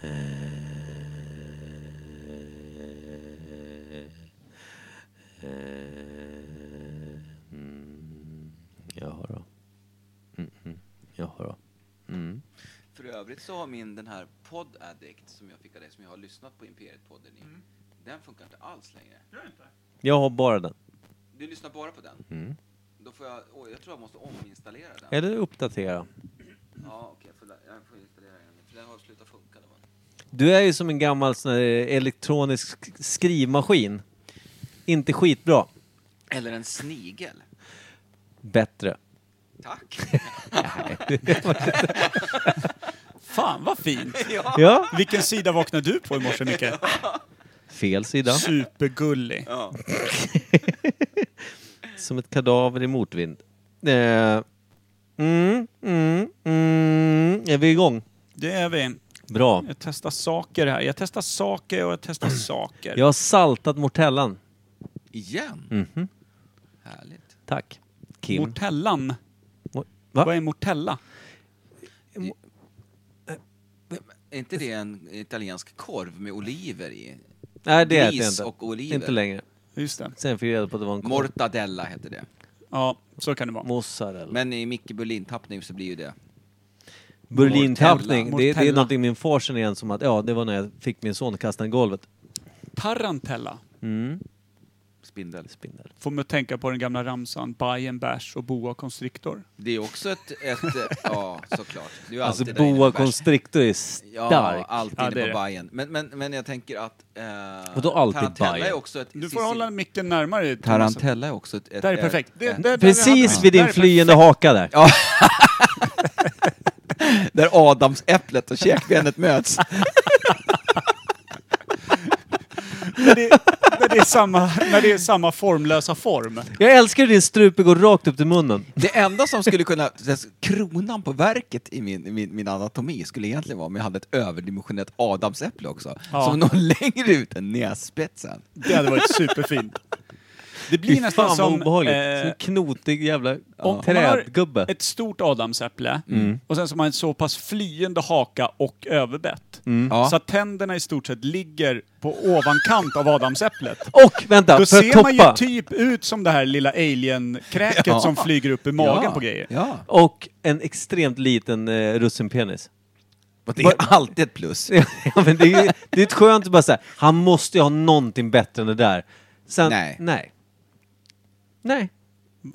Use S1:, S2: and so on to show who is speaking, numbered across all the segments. S1: Eh, eh, Jaha då. Mm, mm. Jaha då. Mm.
S2: För övrigt så har min den här Pod Addict som jag fick av dig, som jag har lyssnat på Imperiet-podden i, den funkar inte alls längre.
S3: Gör inte.
S1: Jag har bara den.
S2: Du lyssnar bara på den?
S1: Mm.
S2: Då får jag, åh, jag tror jag måste ominstallera den.
S1: Eller uppdatera.
S2: Ja, okej, jag får la- jag får installera den. För den har slutat funka. Då. va?
S1: Du är ju som en gammal sån här eh, elektronisk sk- skrivmaskin. Inte skitbra.
S2: Eller en snigel.
S1: Bättre.
S2: Tack!
S3: Fan vad fint!
S2: ja.
S1: Ja.
S3: Vilken sida vaknade du på i morse Micke?
S1: Fel sida.
S3: Supergullig.
S2: ja.
S1: Som ett kadaver i motvind. Eh, mm, mm, mm. Är vi igång?
S3: Det är vi.
S1: Bra.
S3: Jag testar saker här. Jag testar saker och jag testar saker.
S1: Jag har saltat mortellan.
S2: Igen?
S1: Mhm.
S2: Härligt.
S1: Tack. Kim.
S3: Mortellan.
S1: Mor- Va?
S3: Vad är mortella?
S2: Är inte det en italiensk korv med oliver i?
S1: Nej, det äter
S2: Gris
S1: jag inte.
S2: och oliver.
S1: Inte längre.
S3: Just det.
S1: Sen fick jag reda på att det var en korv.
S2: Mortadella heter det.
S3: Ja, så kan det vara.
S1: Mozzarella.
S2: Men i Micke Berlin-tappning så blir ju det...
S1: Berlintappning. Det, det är
S3: Mortella.
S1: någonting min far känner igen som att ja, det var när jag fick min son kasta i golvet.
S3: Tarantella.
S1: Mm.
S2: Spindel.
S1: Spindel.
S3: Får mig att tänka på den gamla ramsan Bajen, bärs och boa constrictor.
S2: Det är också ett... ett eh, ja, såklart. Du är
S1: Alltså
S2: alltid där inne på
S1: boa
S2: bärs.
S1: constrictor är
S2: Ja,
S1: stark.
S2: alltid
S3: Ja, det
S2: inne
S3: är
S2: på
S3: det.
S2: Bajen. Men, men, men jag tänker att... Eh,
S1: Vadå alltid
S2: Tarantella
S1: Bajen?
S2: är också ett...
S3: Du får
S2: Sicil-
S3: hålla micken närmare. Thomas.
S2: Tarantella är också ett... ett
S3: Där är
S2: ett-
S3: perfekt. Det,
S2: ett-
S3: det, det,
S1: Precis vid
S3: där
S1: din
S3: är
S1: flyende haka där.
S2: Ja. Där adamsäpplet och käkbenet möts.
S3: när det, när, det är samma, när det är samma formlösa form.
S1: Jag älskar hur din strupe går rakt upp till munnen.
S2: Det enda som skulle kunna... Kronan på verket i min, i min, min anatomi skulle egentligen vara om jag hade ett överdimensionerat adamsäpple också.
S3: Ja.
S2: Som når längre ut än nässpetsen.
S3: Det hade varit superfint. Det
S1: Fy
S3: blir nästan
S1: fan vad
S3: som
S1: obehagligt.
S3: eh,
S1: Som en knotig jävla
S3: om man har
S1: trädgubbe. Mm.
S3: ett stort adamsäpple och sen så har man en så pass flyende haka och överbett.
S1: Mm.
S2: Ja.
S3: Mm. Så att tänderna i stort sett ligger på ovankant av adamsäpplet.
S1: Och vänta,
S3: Då
S1: för att
S3: ser man ju
S1: toppa.
S3: typ ut som det här lilla alien-kräket
S2: Ja.
S3: som flyger upp i magen
S2: ja.
S3: på grejer.
S2: Ja.
S1: Och en extremt liten eh, russinpenis.
S2: Och det är alltid ett plus.
S1: ja, men det, är, ju- det är ett skönt att bara säga, han måste ju ha någonting bättre än det där. Sen,
S2: Nej.
S1: nej. Nej. Nej.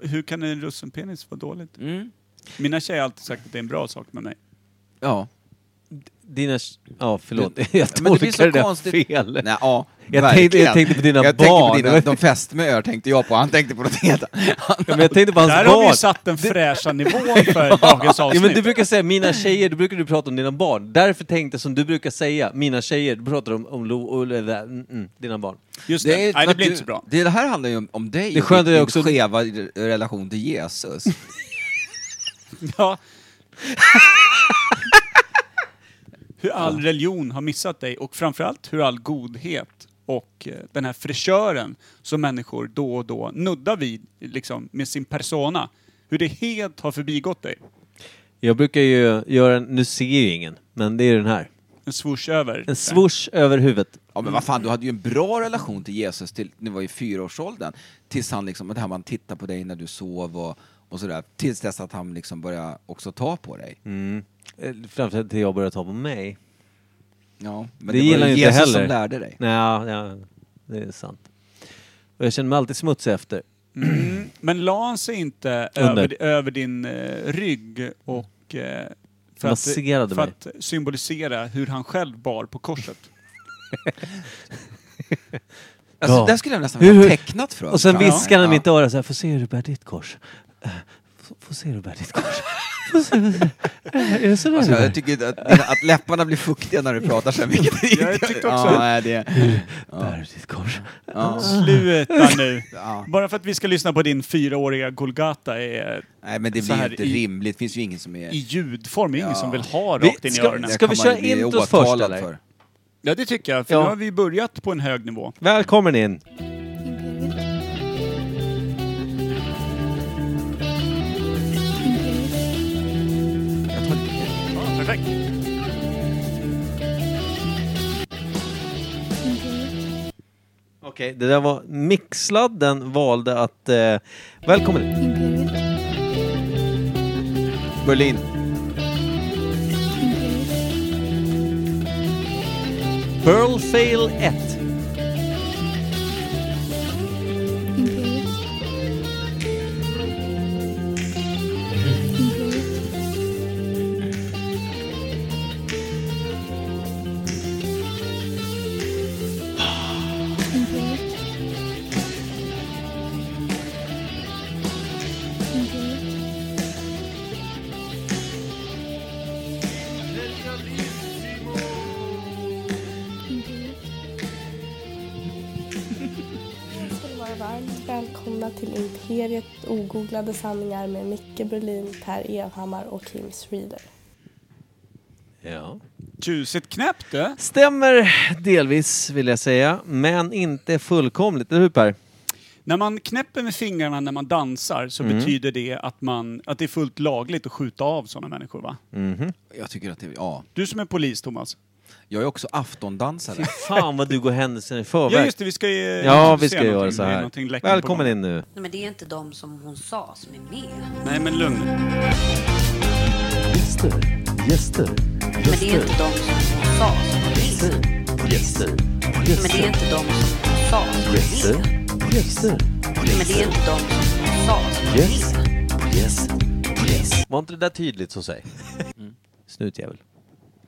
S3: Hur kan en russenpenis vara dåligt?
S2: Mm.
S3: Mina tjejer har alltid sagt att det är en bra sak med mig.
S2: Ja.
S1: Dina... Ja, förlåt. jag
S2: Men det blir så
S1: tolkade det,
S2: konstigt.
S1: fel.
S2: Nej, ja,
S1: Jag tänkte- jag
S2: verkligen.
S1: tänkte på dina
S2: jag tänkte på
S1: barn.
S2: dina, de fästmör tänkte jag på, han tänkte på något helt annat.
S1: Ja, men jag tänkte på hans
S3: Där har vi ju
S1: barn.
S3: satt den fräscha nivån för dagens
S1: Alltså, Ja,
S3: avsnitt.
S1: men du brukar säga mina tjejer, då brukar du prata om dina barn. Därför tänkte jag som du brukar säga, mina tjejer, då pratar du om, om Lo och eller, mm, mm, dina barn.
S3: Just det.
S2: är-
S3: Nej, det
S2: att
S3: blir
S2: du-
S3: inte så bra.
S2: Det, det här handlar ju om, om dig
S1: Det är skönt att
S2: din
S1: jag också-
S2: skeva re- relation till Jesus.
S3: Ja. hur all religion har missat dig och framförallt hur all godhet och eh, den här fräschören som människor då och då nuddar vid liksom, med sin persona. Hur det helt har förbigått dig.
S1: Jag brukar ju göra en, nu ser ju ingen, men det är den här.
S3: En swoosh över.
S1: En swoosh över huvudet.
S2: Ja men vad fan, du hade ju en bra relation till Jesus till, när du var i fyraårsåldern. Tills han liksom, det här man tittar på dig när du sov och, och sådär. Tills dess att han liksom började också ta på dig.
S1: Mm. Eh, Framförallt till jag börjar ta på mig.
S2: Ja, men
S1: Det,
S2: det,
S1: gillar
S2: var
S1: jag inte
S2: ju Jesus
S1: heller.
S2: som lärde dig.
S1: Nej, ja, ja, det är sant. Och jag känner mig alltid smutsig efter.
S3: Mm. Men la han sig inte
S1: Under.
S3: över, över din eh, rygg och eh, för, att,
S1: Masserade
S3: för
S1: mig.
S3: att symbolisera hur han själv bar på korset.
S2: Alltså,
S1: Ja.
S2: Där skulle jag nästan
S1: Hur-
S2: vilja
S1: hur-
S2: tecknat för
S1: Och sen
S2: fram-
S1: viskar han i
S2: Ja.
S1: mitt öra så här, får se hur du bär ditt kors. Eh, Få, få se hur du bär ditt kors. Få se, få se. Eh, Är det sådär
S2: Alltså,
S1: du bär?
S2: jag tycker att, att läpparna blir fuktiga när du pratar så här mycket.
S3: Jag tyckte också-
S2: Ja, nej, det,
S1: Mm. Bär du ditt kors?
S2: ja,
S3: Sluta nu!
S2: ja.
S3: Bara för att vi ska lyssna på din fyraåriga Golgata är,
S2: Nej, men det
S3: Så
S2: blir ju
S3: här
S2: inte
S3: i-
S2: rimligt. Det finns ju ingen som är...
S3: i ljudform, det är ingen
S2: Ja.
S3: som vill ha rakt
S1: Vi-
S3: in i
S1: ska-
S3: öronen.
S2: Det
S1: ska- vi
S2: kan man
S1: köra
S2: bli
S1: introt först,
S2: åtalad
S1: eller?
S2: för.
S3: Ja, det tycker jag, för
S1: Ja.
S3: nu har vi börjat på en hög nivå.
S1: Välkommen in!
S4: Imperiet. Imperiet.
S3: Ja, perfekt.
S1: Okej, det där var Mixlad. Den valde att... Eh, välkommen hit.
S4: Imperiet,
S2: Berlin.
S4: Imperiet,
S1: Pearl Fail 1.
S4: Imperiet. Imperiet, Imperiet. Imperiet. Imperiet.
S5: ska ni vara varmt välkomna till Imperiet ogooglade sanningar med Micke Berlin, Per Evhammar och Kim Schreeder.
S1: Ja.
S3: Tjusigt knäppt du!
S1: Stämmer delvis, vill jag säga. Men inte fullkomligt, eller hur Per?
S3: När man knäpper med fingrarna när man dansar så
S1: Mm.
S3: betyder det att, man, att det är fullt lagligt att skjuta av sådana människor va?
S2: Jag tycker att det, ja.
S3: Du som är polis Thomas.
S2: Jag är också aftondansare.
S1: Fan vad du går händelserna i förväg.
S3: Ja just det, vi ska ju...
S1: Ja, vi
S3: se
S1: ska göra
S3: någonting.
S1: så
S3: Det är
S1: här.
S3: någonting läckert på
S1: Välkommen
S3: gång.
S1: in nu.
S6: Nej, men det är inte de som hon sa som är med.
S3: Nej men lugn nu.
S7: Gäster, gäster,
S6: Men det är inte de som hon sa som är med.
S7: gäster,
S6: Men det är
S7: gäster,
S6: inte de som hon sa som är
S7: gäster,
S6: med.
S7: gäster,
S6: Men det är inte de som hon sa som är
S7: Yes.
S6: med.
S7: yes, yes.
S1: Var inte det där tydligt så säg? Mm. Snutjävel.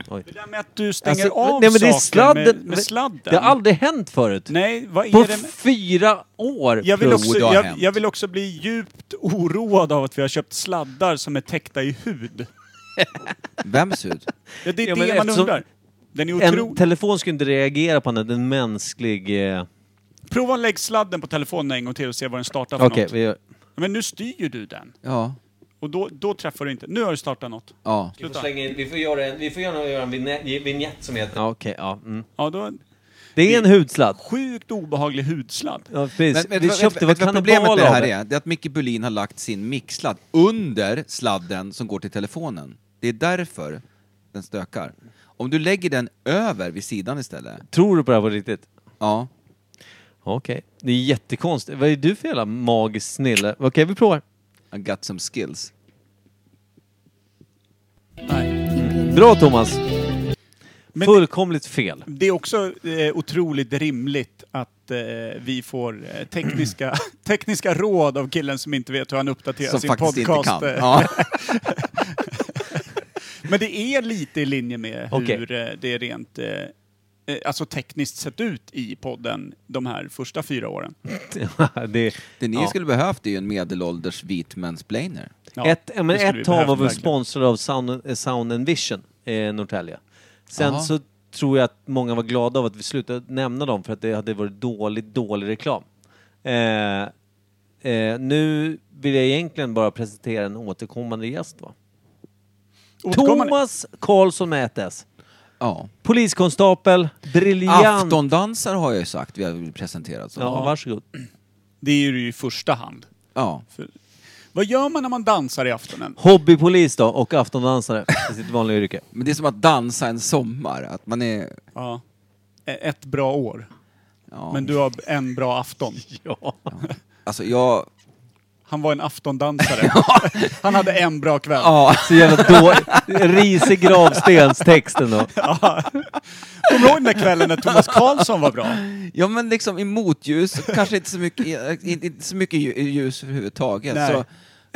S1: Oj.
S3: Det där med att du stänger
S1: Alltså,
S3: av
S1: nej, men det är
S3: saker med,
S1: sladden-
S3: med sladden.
S1: Det har aldrig hänt förut.
S3: Nej, vad är
S1: På
S3: det med...
S1: fyra år!
S3: Jag vill,
S2: Tror
S3: också,
S2: det har
S3: jag,
S2: hänt.
S3: jag vill också bli djupt oroad av att vi har köpt sladdar som är täckta i hud.
S2: Vems hud?
S3: Ja, det är
S1: Ja, men
S3: det man
S1: eftersom-
S3: undrar. Den är
S1: En
S3: otrolig.
S1: telefon skulle inte reagera på annat än mänsklig... Eh...
S3: Prova att lägga sladden på telefonen en gång till och se vad den startar för
S1: Okej,
S3: något.
S1: vi gör...
S3: Men nu styr ju du den.
S2: Ja.
S3: Och då, då träffar du inte. Nu har du startat något.
S2: Ja.
S1: Vi får,
S3: Sluta.
S1: slänga in, vi får göra en, vi får gärna göra en vinä- vignett som heter... Ja, Okej, ja. Mm.
S3: Ja, då,
S1: Det är en hudsladd.
S3: sjukt obehaglig hudsladd.
S1: Ja, precis.
S2: Men, men,
S1: vi köpte, vad
S2: vet du vad problemet med
S1: kannibal
S2: det
S1: av
S2: här
S1: det.
S2: är? Det är att Micke Berlin har lagt sin mixladd under sladden som går till telefonen. Det är därför den stökar. Om du lägger den över vid sidan istället,
S1: Tror du på det här på riktigt?
S2: ja.
S1: Okej. Det är jättekonstigt. Vad är du för jävla magisk snille? Okej, vi provar.
S2: I got some skills.
S3: Nej.
S1: Bra Thomas!
S3: Men-
S1: Fullkomligt fel.
S3: Det är också eh, otroligt rimligt att eh, vi får eh, tekniska, tekniska råd av killen som inte vet hur han uppdaterar
S2: Som
S3: sin
S2: faktiskt
S3: podcast.
S2: inte kan.
S3: eh.
S2: Ja.
S3: Men det är lite i linje med
S1: Okej.
S3: hur eh, det är rent eh, eh, Alltså tekniskt sett ut i podden de här första fyra åren.
S1: det,
S2: Det ni
S1: Ja.
S2: skulle behövt är ju en medelålders vit mansplainer.
S3: Ja,
S1: ett
S3: det
S1: men
S3: skulle vi
S1: ett tag
S3: behövt
S1: var vi
S3: verkligen.
S1: sponsrade av Sound, eh, Sound and Vision eh, Norrtälje. Sen
S2: Jaha.
S1: så tror jag att många var glada av att vi slutade nämna dem för att det hade varit dålig, dålig reklam. Eh, eh, nu vill jag egentligen bara presentera en återkommande gäst va?
S3: Återkommande-
S1: Thomas Karlsson med ett S.
S2: Ja.
S1: Poliskonstapel, briljant.
S2: Aftondansare har jag ju sagt vi har väl presenterat som.
S1: Ja,
S2: Ja.
S1: varsågod.
S3: Det är ju i första hand.
S2: ja.
S3: För, vad gör man när man dansar i aftonen?
S1: Hobbypolis då och aftondansare i sitt vanliga yrke.
S2: Men det är som att dansa en sommar, att man är...
S3: Ja. E- Ett bra år.
S2: Ja.
S3: Men du har en bra afton.
S1: Ja.
S2: Alltså jag...
S3: Han var en aftondansare. Han hade en bra kväll.
S2: Ja.
S1: Så jävla då... Risig gravstenstexten då.
S3: Kommer du ihåg den där kvällen när Thomas Karlsson var bra?
S2: Ja men liksom i motljus, kanske inte så mycket, eh, inte inte så mycket lju- ljus överhuvudtaget,
S3: Nej.
S2: så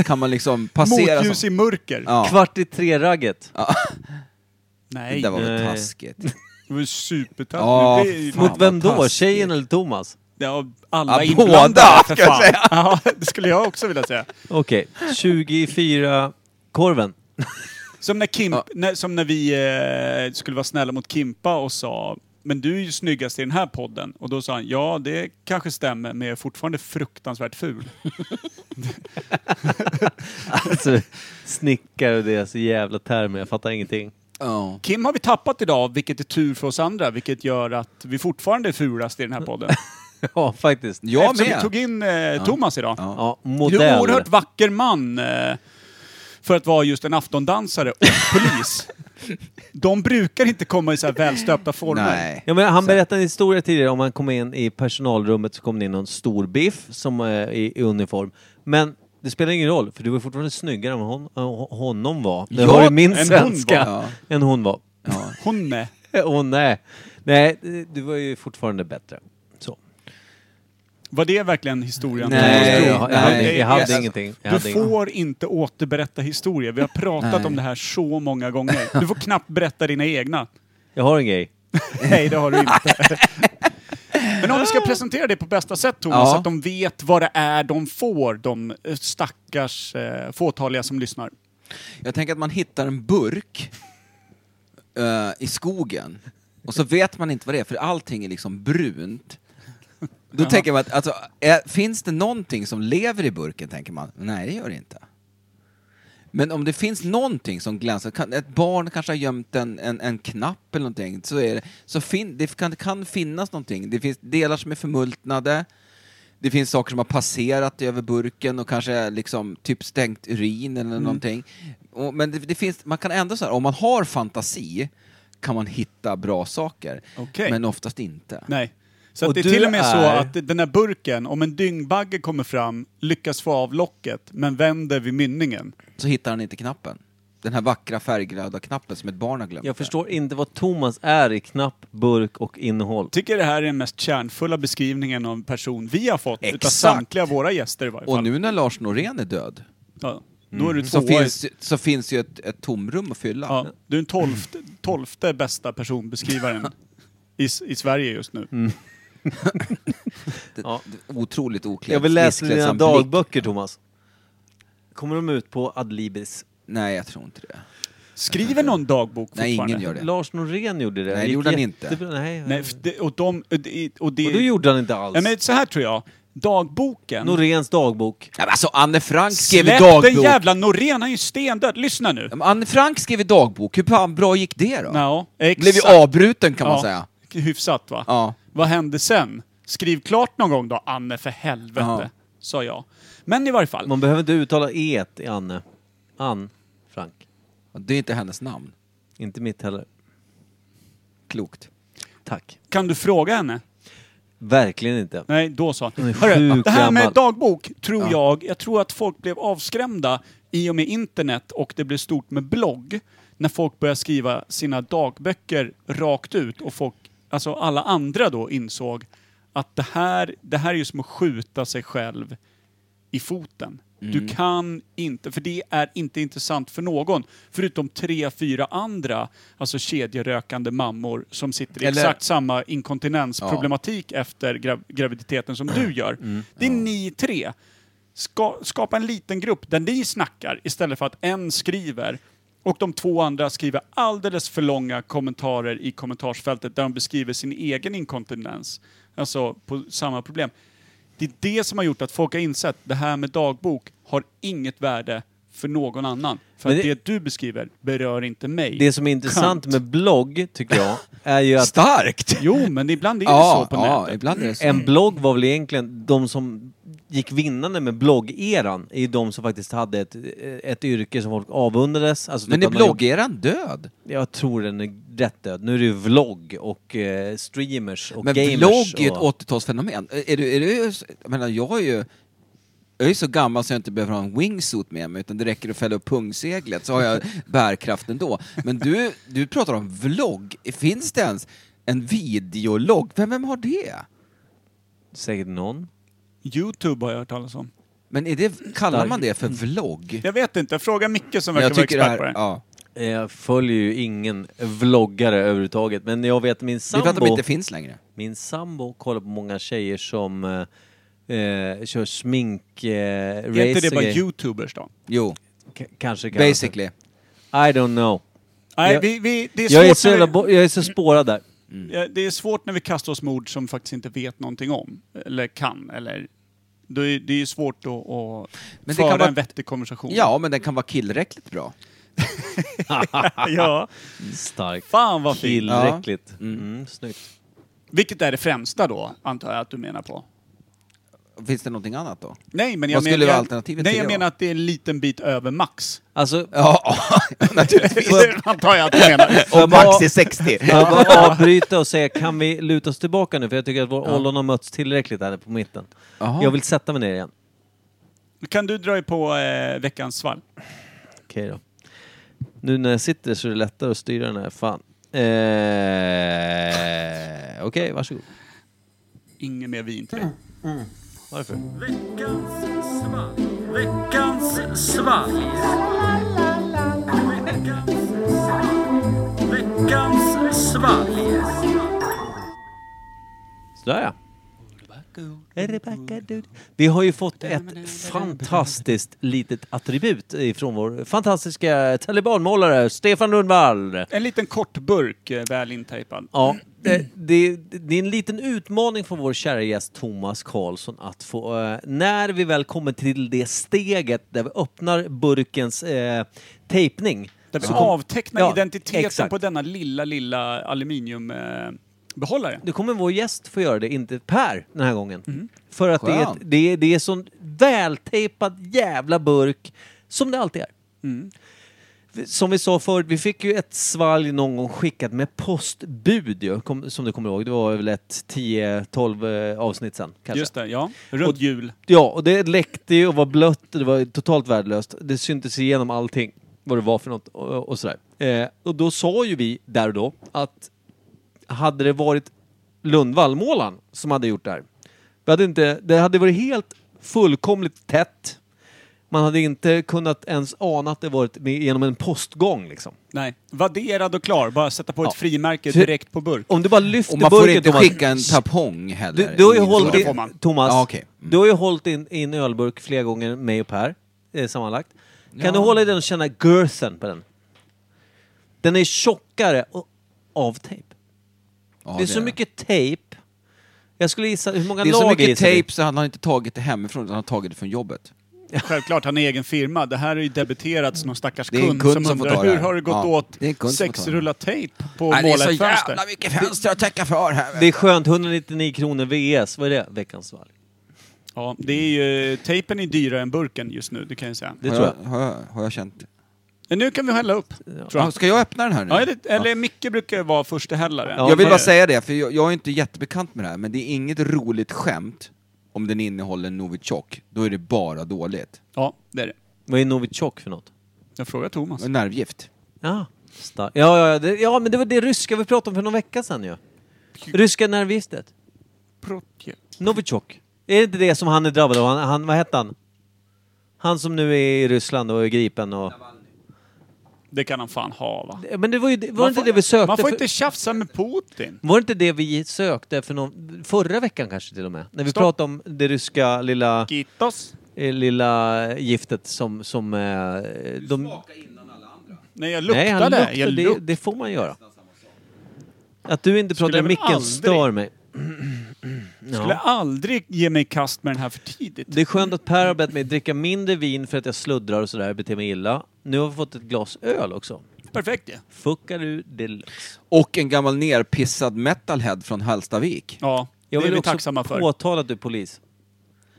S2: kan man liksom passera
S3: Motljus
S2: som...
S3: i mörker.
S2: Ja.
S1: Kvart i tre-ragget.
S2: Det
S3: Nej,
S2: där var
S1: Nej.
S2: väl taskigt.
S3: det var ju supertaskigt.
S2: Ja,
S3: Det är ju-
S2: fan.
S1: Mot vem
S2: vad
S1: då?
S2: taskigt.
S1: Tjejen eller Thomas?
S3: Det har
S2: Ja,
S3: alla inblandade
S2: båda,
S3: för
S2: ska jag
S3: fan.
S2: säga.
S3: Ja, det skulle jag också vilja säga.
S1: Okej, 24-korven.
S3: Som när, Kimp,
S2: Ja.
S3: när, som när vi eh, skulle vara snälla mot Kimpa och sa men du är ju snyggast i den här podden. Och då sa han, ja det kanske stämmer, men jag är fortfarande fruktansvärt ful.
S1: Alltså, snickare och deras jävla termer, jag fattar ingenting.
S2: Ja.
S3: Kim har vi tappat idag, vilket är tur för oss andra, vilket gör att vi fortfarande är fulast i den här podden.
S1: Ja, faktiskt.
S2: Jag
S3: Eftersom vi
S2: med!
S3: tog in eh, Thomas idag.
S2: Ja.
S1: Ja,
S3: Du är en
S1: modell.
S3: oerhört vacker man, eh, för att vara just en aftondansare och polis. De brukar inte komma i så här välstöpta former.
S2: Nej.
S1: Ja, men han berättade en historia tidigare om han kom in i personalrummet så kom det in någon stor biff som, eh, i, i uniform. Men det spelar ingen roll, för du var fortfarande snyggare än hon, eh, honom var. Det
S3: Ja,
S1: var ju min
S3: än hon
S1: svenska.
S2: var,
S1: Än hon var.
S2: Ja.
S3: Hon med.
S1: Åh nej. Nej, du var ju fortfarande bättre. Så.
S3: Var det verkligen historien?
S2: Nej,
S1: jag, jag, hade,
S2: nej.
S1: jag hade
S2: Yes.
S1: ingenting. Jag
S3: Du
S1: hade ingenting.
S3: får inte återberätta historier. Vi har pratat
S2: Nej.
S3: om det här så många gånger. Du får knappt berätta dina egna.
S1: Jag har en grej.
S3: Nej, det har du inte. Men om du ska presentera det på bästa sätt, Thomas,
S2: Ja.
S3: så att de vet vad det är de får, de eh, stackars eh, fåtaliga som lyssnar.
S2: Jag tänker att man hittar en burk eh, i skogen och så vet man inte vad det är, för allting är liksom brunt. Då tänker man att, alltså, är, finns det någonting som lever i burken, tänker man. Nej, det gör det inte. Men om det finns någonting som glänser, kan, ett barn kanske har gömt en, en, en knapp eller någonting, så, är det, så fin, det kan, kan finnas någonting. Det finns delar som är förmultnade, det finns saker som har passerat över burken och kanske är liksom typ stängt urin eller någonting. Och, men det, det finns, man kan ändå så här, om man har fantasi kan man hitta bra saker.
S3: Okej.
S2: Men oftast inte.
S3: Nej. Så att
S1: Och
S3: det är
S1: du
S3: till och med så
S1: är-
S3: att den här burken, om en dyngbagge kommer fram, lyckas få av locket, men vänder vid mynningen.
S2: Så hittar han inte knappen. Den här vackra färgglada knappen som ett barn har glömt.
S1: Jag förstår inte vad Thomas är i knapp, burk och innehåll.
S3: Tycker det här är den mest kärnfulla beskrivningen av en person vi har fått, utav
S2: Exakt.
S3: samtliga våra gäster i varje fall.
S2: Och nu när Lars Norén är död
S3: Ja. Då är du
S2: så
S3: tvåa. i-
S2: finns, så finns ju ett, ett tomrum att fylla.
S3: Ja, du är den tolfte, tolfte bästa personbeskrivaren i, s- i Sverige just nu.
S2: Mm. Det,
S1: Ja.
S2: det, otroligt oklädd.
S1: Jag vill läsa
S2: missklädd
S1: dina
S2: som blick.
S1: dagböcker, Thomas. Kommer de ut på Adlibris?
S2: Nej, jag tror inte det.
S3: Skriver någon dagbok
S2: Nej,
S3: fortfarande?
S2: ingen gör det.
S1: Lars Norén gjorde det.
S2: Nej, det
S1: Gick
S2: gjorde han inte.
S1: jättebra. Nej,
S3: Nej, för det, och de... Och det, och det,
S1: Och det gjorde han inte alls.
S3: ja, men så här tror jag. Dagboken...
S1: Noréns dagbok.
S2: Nej, men alltså, Anne Frank skrev
S3: Släpp
S2: dagbok.
S3: den jävla Norén, han är ju stendöd. Lyssna nu.
S2: Ja, men Anne Frank skrev ju dagbok, hur fan bra gick det då?
S3: Ja, exakt.
S2: Blev ju avbruten kan man säga.
S3: Ja, hyfsat va?
S2: Ja.
S3: Vad hände sen? Skriv klart någon gång då, Anne, för helvete.
S2: Ja.
S3: Sa jag. Men i varje fall.
S1: Man behöver inte uttala e i Anne. Ann Frank.
S2: Och Det är inte hennes namn.
S1: Inte mitt heller.
S2: Klokt.
S1: Tack.
S3: Kan du fråga henne?
S1: Verkligen inte.
S3: Nej, då sa
S1: är
S3: han. Hörru,
S1: sjukt
S3: det här med
S1: gammal.
S3: dagbok tror jag, jag tror att folk blev avskrämda i och med internet och det blev stort med blogg. När folk började skriva sina dagböcker rakt ut och folk, alltså alla andra då insåg att det här, det här är ju som att skjuta sig själv i foten.
S1: Mm.
S3: Du kan inte, för det är inte intressant för någon, förutom tre, fyra andra, alltså kedjerökande mammor som sitter i
S2: Eller-
S3: exakt samma inkontinensproblematik efter grav- graviditeten som du gör.
S1: Mm.
S3: Det är ni tre. Ska, skapa en liten grupp där ni snackar istället för att en skriver och de två andra skriver alldeles för långa kommentarer i kommentarsfältet där de beskriver sin egen inkontinens. Alltså på samma problem. Det är det som har gjort att folk har insett det här med dagbok har inget värde för någon annan. För
S1: Men
S3: att
S1: det-
S3: det du beskriver berör inte mig.
S1: Det som är intressant
S3: Skönt.
S1: med blogg, tycker jag, är ju att
S2: Starkt!
S3: Jo, men ibland är det
S2: Ja,
S3: så på
S2: ja,
S3: nätet.
S2: ibland är det så.
S1: en blogg var väl egentligen de som gick vinnande med bloggeran, är ju de som faktiskt hade ett, ett yrke som folk avundades. Alltså,
S2: Men
S1: typ
S2: är
S1: att man jobb-
S2: bloggeran död?
S1: Jag tror den är rätt död. Nu är det ju vlogg och eh, streamers och
S2: Men
S1: gamers.
S2: vlogg är ju ett
S1: och...
S2: 80-talsfenomen. Är- Är du, är du, jag menar, jag är ju... Jag är så gammal så jag inte behöver ha en wingsuit med mig, utan det räcker att fälla upp pungseglet så har jag bärkraft ändå. Men du, du pratar om vlogg. Finns det ens en videologg? Vem, vem har det?
S1: Säkert någon.
S3: Youtube har jag hört talas om.
S2: Men är det, kallar man det för vlogg?
S3: Jag vet inte, fråga Micke som
S2: Men
S3: verkar
S2: jag
S3: vara
S2: tycker det
S3: expert
S2: här...
S3: på
S2: Ja.
S3: det.
S1: Eh, Jag följer ju ingen vloggare överhuvudtaget, men jag vet min
S2: Det är för att de
S1: sambo,
S2: inte finns längre.
S1: min sambo kollar på många tjejer som eh, eh, kör smink eh,
S3: Är inte
S1: race
S3: det
S1: och
S3: bara
S1: grejer.
S3: youtubers då?
S2: Jo,
S1: K- Kanske kan
S2: basically.
S1: I don't know.
S3: Nej,
S1: Jag-
S3: vi, vi, det, är
S1: Jag är,
S3: svårt
S1: så jävla,
S3: när
S1: bo- jag är så spårad där.
S3: vi, ja, det är svårt när vi kastar oss med ord som faktiskt inte vet någonting om, eller kan, eller... Då är, det är ju svårt att, att
S2: Men det
S3: föra
S2: kan vara-
S3: en vettig konversation.
S2: Ja, men den kan vara killräckligt bra.
S3: ja.
S1: Starkt.
S3: Fan vad fint.
S1: Tillräckligt. Mm, snyggt.
S3: Vilket är det främsta då, antar jag att du menar på?
S2: Finns det någonting annat då?
S3: Nej, men jag
S2: Vad skulle
S3: jag-
S2: alternativet
S3: Nej,
S2: till
S3: jag
S2: det
S3: menar
S2: vara?
S3: att det är en liten bit över max.
S1: Alltså,
S2: Ja, naturligtvis.
S3: antar jag att du menar.
S1: jag bara,
S2: Max är 60.
S1: jag bara avbryta och säga, kan vi luta oss tillbaka nu? För jag tycker att vår ollon har mötts tillräckligt här på mitten.
S2: Jaha.
S1: Jag vill sätta mig ner igen.
S3: Kan du dra er på eh, veckans svalg?
S1: Okej då. Nu när jag sitter så är det lättare att styra den här. Fan. Eh, Okej, varsågod.
S3: Inget mer vin till dig.
S1: Varför? Sådär ja. Rebecca Doody. Vi har ju fått ett fantastiskt litet attribut ifrån vår fantastiska talibanmålare Stefan Lundvall.
S3: En liten kort burk, eh, väl intejpad.
S1: Ja, det, det, det är en liten utmaning för vår kära gäst Thomas Karlsson att få, eh, när vi väl kommer till det steget där vi öppnar burkens eh, tejpning.
S3: Där vi
S1: så kom-
S3: avtecknar
S1: Ja,
S3: identiteten
S1: exakt.
S3: på denna lilla, lilla aluminiumbehållare.
S1: Nu kommer vår gäst få göra det, inte Per den här gången. För att det är, ett,
S2: Skönt.
S1: det, är, det är sån vältejpad jävla burk som det alltid är. Som vi sa förut, vi fick ju ett svalg någon gång skickat med postbud ju, kom, som du kommer ihåg. Det var väl ett 10-12 eh, avsnitt sen kanske.
S3: Just det, ja. Runt
S1: Och-
S3: jul.
S1: Ja, och det läckte ju och var blött och det var totalt värdelöst. Det syntes igenom allting, vad det var för något och, och sådär. Eh, och då sa ju vi där och då att hade det varit Lundvallmålaren som hade gjort det här, vi hade inte, det hade varit helt fullkomligt tätt. Man hade inte kunnat ens ana att det varit med, genom en postgång liksom.
S3: Nej. Vadderad och klar, bara sätta på
S1: Ja.
S3: ett frimärke
S1: Så-
S3: direkt på burk.
S1: Om du bara lyfter
S2: Och man får
S1: burken,
S2: inte
S1: Thomas,
S2: skicka en tampong heller.
S1: Du, du har ju
S2: Ingen
S1: hållit
S2: sån.
S3: får
S1: in,
S3: man.
S1: Thomas,
S2: Ja, okej. Mm.
S1: du har ju hållit in, in ölburk flera gånger, mig och Per, eh, sammanlagt. Kan du hålla i den och känna girthen på den? Den är tjockare och, av tejp.
S2: Ja,
S1: det är så mycket tejp. Jag skulle gissa, hur många
S2: Det är så
S1: lager
S2: mycket
S1: gissar du?
S2: tejp så han har inte tagit det hemifrån, utan han har tagit det från jobbet.
S3: Självklart, han är egen firma. Det här är ju debiterats någon stackars
S2: Mm. Det är en
S3: kund,
S2: kund
S3: som,
S2: som får ta
S3: undrar
S2: det
S3: hur
S2: här.
S3: har det gått
S2: Ja,
S3: åt
S2: det är en kund som får ta
S3: sex
S2: det.
S3: rullar tejp på
S2: Nej, det är så
S3: målarfönster? fönster?
S2: jävla mycket fönster att täcka för här.
S1: Det är skönt, 199 kronor VS, vad är det? Veckans val.
S3: Ja, det är ju, tejpen är dyrare än burken just nu, det kan jag säga.
S1: Det
S2: har,
S1: tror jag.
S2: jag, har, jag, har jag känt.
S3: Men nu kan vi hälla upp, tror
S2: Ja,
S3: jag.
S2: ska jag öppna den här nu?
S3: Ja, eller, eller Micke brukar ju vara förstehällare.
S1: Ja,
S2: jag vill
S1: för-
S2: bara säga det, för jag, jag är inte jättebekant med det här, men det är inget roligt skämt om den innehåller Novichok. Då är det bara dåligt.
S3: Ja, det är det.
S1: Vad är Novichok för något?
S3: Jag frågar Thomas.
S2: Och Nervgift.
S1: Ja, star- ja, ja, ja, det, ja, men det var det ryska vi pratade om för någon vecka sedan ju. Ryska nervgiftet.
S3: Protje.
S1: Novichok. Är det inte det som han är drabbad av? Han, han, vad hette han? Han som nu är i Ryssland och är gripen och...
S3: Det kan han fan ha, va?
S1: Men det var ju det- var
S3: Man
S1: inte
S3: får-
S1: det vi sökte
S3: Man får
S1: för,
S3: inte tjafsa med Putin.
S1: Var inte det vi sökte för någon, förra veckan kanske till och med? När vi
S3: Stopp.
S1: pratade om det ryska lilla,
S3: Gittos.
S1: eh, lilla giftet som... som eh, de,
S3: Nej, jag
S1: nej,
S3: luktade.
S1: han
S3: jag
S1: luktade. Det,
S3: luk-
S1: det får man göra. Att du inte pratar i
S3: väl
S1: micken
S3: aldrig-
S1: stör mig.
S3: skulle
S1: Ja.
S3: aldrig ge mig i kast med den här för tidigt.
S1: Det är skönt att Per har bett mig dricka mindre vin för att jag sluddrar och sådär, beter mig illa. Nu har vi fått ett glas öl också.
S3: Perfekt ja.
S1: Fuckar du deluxe.
S2: Och en gammal nerpissad metalhead från Hallstavik.
S3: Ja,
S1: Jag
S3: det är
S1: vill
S3: vi
S1: också
S3: tacksamma för.
S1: påtala att du är polis.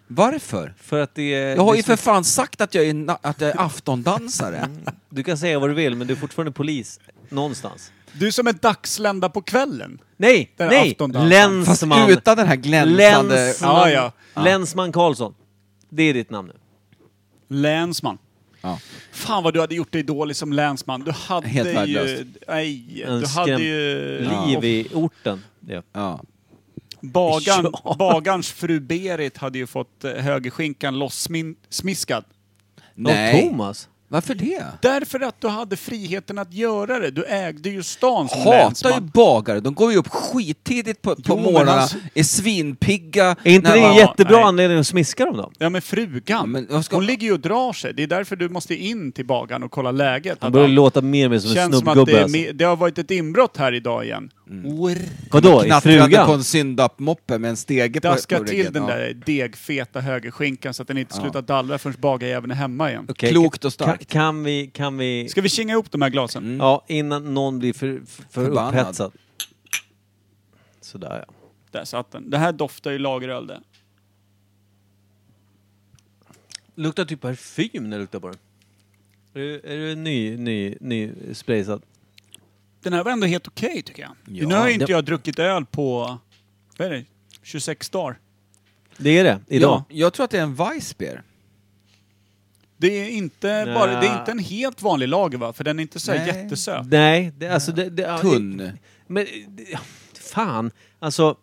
S2: Varför?
S1: För att det är...
S2: Jag har
S1: det är
S2: ju
S1: så-
S2: för fan sagt att jag är, na- att jag är aftondansare.
S1: Du kan säga vad du vill, men du är fortfarande polis någonstans.
S3: Du är som en dagslända på kvällen.
S1: Nej!
S3: Där
S1: nej!
S3: aftondansen.
S2: Fast
S1: Länsman!
S2: utan den här glänsande...
S1: Länsman,
S3: Ja, ja.
S1: Länsman Karlsson. Det är ditt namn nu.
S3: Länsman.
S2: Ja.
S3: Fan vad du hade gjort dig dålig som länsman. Du hade
S2: Helt
S3: ju...
S2: värdelöst.
S3: Nej,
S1: En
S3: du hade
S1: skräm-
S3: ju...
S1: Liv i orten. Ja.
S2: Ja.
S3: Bagan,
S1: Ja.
S3: Bagarns fru Berit hade ju fått eh, högerskinkan lossmiskad.
S1: Nej.
S2: Nej.
S1: Och Thomas.
S2: Varför det?
S3: Därför att du hade friheten att göra det. Du ägde ju stan som
S2: Hatar ju
S3: länsman.
S2: bagare, de går ju upp skittidigt på, på
S3: Jo, men
S2: morgnarna,
S3: alltså-
S2: är svinpigga.
S1: Är inte
S2: när
S1: det en
S2: man-
S1: jättebra
S3: nej.
S1: anledning att smiska dem då?
S3: Ja men frugan,
S2: Ja, men vad ska-
S3: hon ligger ju och drar sig. Det är därför du måste in till bagaren och kolla läget.
S1: Han
S3: Att
S1: börjar
S3: han-
S1: låta mer och mer som en
S3: Känns som att det,
S1: snubbgubbe
S3: är,
S1: alltså.
S3: me- det har varit ett inbrott här idag igen.
S1: Vadå, i
S2: Knattrande Mm. på en
S1: frugan?
S2: syndap-moppe med en stege på, på
S3: Daska
S2: ryggen.
S3: till den
S2: ja.
S3: där degfeta högerskinkan så att den inte slutar dallra förrän bagarjäveln är hemma igen.
S1: Okej,
S2: Klokt
S1: Kan,
S2: och starkt.
S1: kan vi... Kan vi
S3: Ska vi kinga ihop de här glasen?
S2: Mm.
S1: Ja, innan någon blir för, för, för
S2: Förbannad.
S1: upphetsad. Sådär ja.
S3: Där satt den. Det här doftar ju lageröl det.
S1: Luktar typ parfym när jag luktar på den. Är, det- är det ny, ny, ny spraysad?
S3: Den här var ändå helt okej tycker jag.
S2: Ja,
S3: nu har ju inte
S1: det-
S3: jag druckit öl på, vad är det, 26 dagar.
S1: Det är det, idag.
S2: Ja, jag tror att det är en Weissbier.
S3: Det är inte
S1: Nej.
S3: bara, det är inte en helt vanlig lager va? För den är inte så här
S2: Nej.
S3: jättesöt.
S1: Nej, det, alltså det... det ja,
S2: Tunn.
S1: Men, det- ja, fan. Alltså,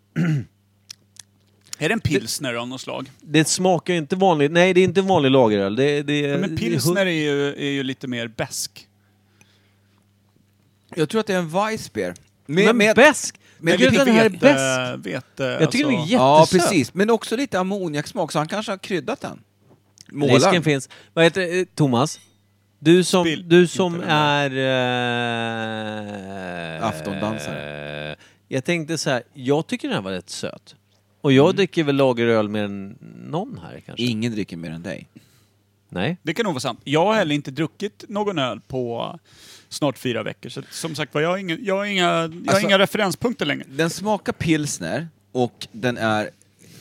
S3: Är det en pilsner av något slag?
S1: det smakar ju inte vanligt. Nej, det är inte en vanlig lageröl. Det, det,
S3: Ja, men pilsner är ju, är ju lite mer besk.
S2: Jag tror att det är en Weissbier.
S1: det är...
S2: Med,
S1: Men
S2: med,
S1: bäsk!
S2: med
S1: Jag tycker att den här är
S2: lite
S1: bäst.
S3: Äh, vet,
S1: Jag tycker den
S3: alltså.
S1: är
S2: Ja,
S1: jättesöt.
S2: precis. Men också lite ammoniaksmak, så han kanske har kryddat den.
S1: Risken finns. Vad heter det? Eh, Thomas? Du som,
S3: Spill.
S1: du som
S3: Inte den
S1: är... Eh,
S2: Aftondansare.
S1: eh, Jag tänkte så här, jag tycker den här var rätt söt. Och
S2: Mm.
S1: jag dricker väl lageröl mer än någon här kanske?
S2: Ingen dricker mer än dig.
S1: Nej.
S3: Det kan nog vara sant. Jag har heller inte druckit någon öl på snart fyra veckor. Så att, som sagt var, jag har inga, jag har inga, jag har
S2: Alltså-
S3: inga referenspunkter längre.
S2: Den smakar pilsner och den är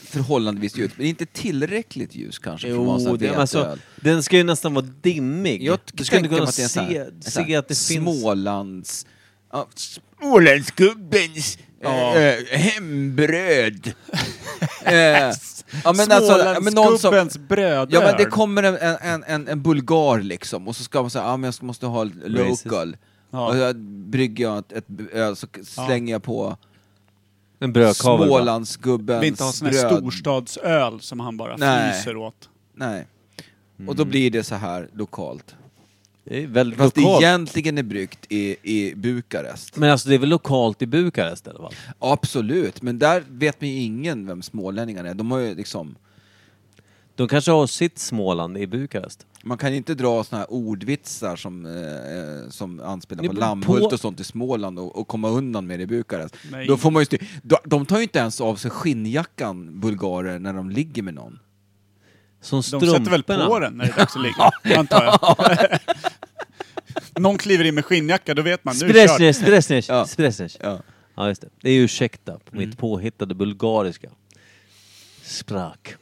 S2: förhållandevis ljus, men inte tillräckligt ljus kanske för att vara en sån
S1: Jo,
S2: här
S1: den,
S2: vetöl.
S1: alltså, den ska ju nästan vara dimmig.
S2: Jag
S1: du ska
S2: tänker
S1: inte kunna
S2: mig att det är en sån
S1: se,
S2: här- en sån här
S1: se att det finns...
S2: Smålands... Ja, Smålandsgubbens
S3: Ja.
S2: eh, hembröd. eh, ja, men alltså, ja, men någon som,
S3: Smålandsgubbens brödöl.
S2: Ja men det kommer en, en- en, en, en bulgar liksom, och så ska man säga ja men jag måste ha local.
S3: Ja.
S2: Och så brygger jag ett, ett öl så slänger jag på
S1: En brödkavel. va?
S2: Smålandsgubbens
S3: vill inte ha sån här
S2: bröd.
S3: storstadsöl som han bara
S2: Nej.
S3: fryser åt.
S2: Nej. Och då blir det så här lokalt.
S1: Det är väldigt
S2: Fast
S1: lokalt.
S2: det egentligen är bryggt i, i Bukarest.
S1: Men alltså det är väl lokalt i Bukarest i alla fall?
S2: Absolut, men där vet man ju ingen vem smålänningarna är. De har ju liksom,
S1: De kanske har sitt Småland i Bukarest.
S2: man kan ju inte dra såna här ordvitsar som, eh, som anspelar
S1: Det
S2: på
S1: beror
S2: Lammhult
S1: på-
S2: och sånt i Småland och, och komma undan med det i Bukarest.
S3: Nej.
S2: Då får man ju styr... de, de tar ju inte ens av sig skinnjackan, bulgarer, när de ligger med någon.
S1: Som
S3: De
S1: strumporna.
S3: sätter väl på den när det är dags att ligga, antar jag. Någon kliver in med skinnjacka, då vet man. Nu är det
S1: Spresners, spresners,
S2: Ja.
S1: spresners. Ja.
S2: Ja.
S1: just det. Det är ju ursäkta på
S3: Mm.
S1: mitt påhittade bulgariska. Sprak.
S3: kört.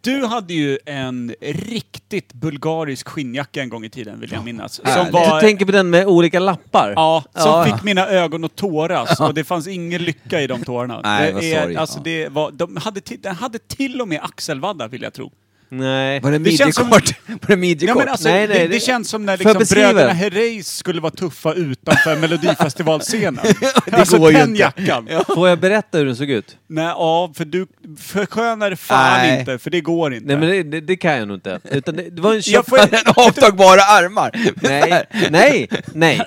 S3: Du hade ju en riktigt bulgarisk skinnjacka en gång i tiden, vill jag minnas. Som
S1: Du
S2: Härligt.
S3: var...
S1: tänker på den med olika lappar?
S3: Ja, som
S1: Ja.
S3: fick mina ögon att tåras och det fanns ingen lycka i de tårarna.
S2: Nej, vad
S3: det är,
S2: sorgligt.
S3: alltså,
S2: Ja.
S3: det var, de hade till, Den hade till och med axelvaddar, vill jag tro.
S1: Nej.
S2: Var det
S3: Det känns som-
S2: midjekort? Var det
S3: Ja,
S2: midjekort?
S3: men alltså,
S1: Nej, nej,
S3: det, det
S1: det-
S3: känns som när
S1: Får
S3: liksom
S1: jag beskriva?
S3: bröderna Herreys skulle vara tuffa utanför Melodifestivalscenen.
S2: Det
S3: alltså
S2: går ju
S3: den
S2: inte.
S3: jackan.
S1: Får jag berätta hur den såg ut?
S3: Nej, ja, för du förskönar det fan
S2: Nej.
S3: inte, för det går inte.
S1: Nej men det, det, det kan jag nog inte. Utan det, det var en
S3: jag
S1: köpt...
S3: får,
S2: Avtagbara armar!
S1: Nej, nej, nej.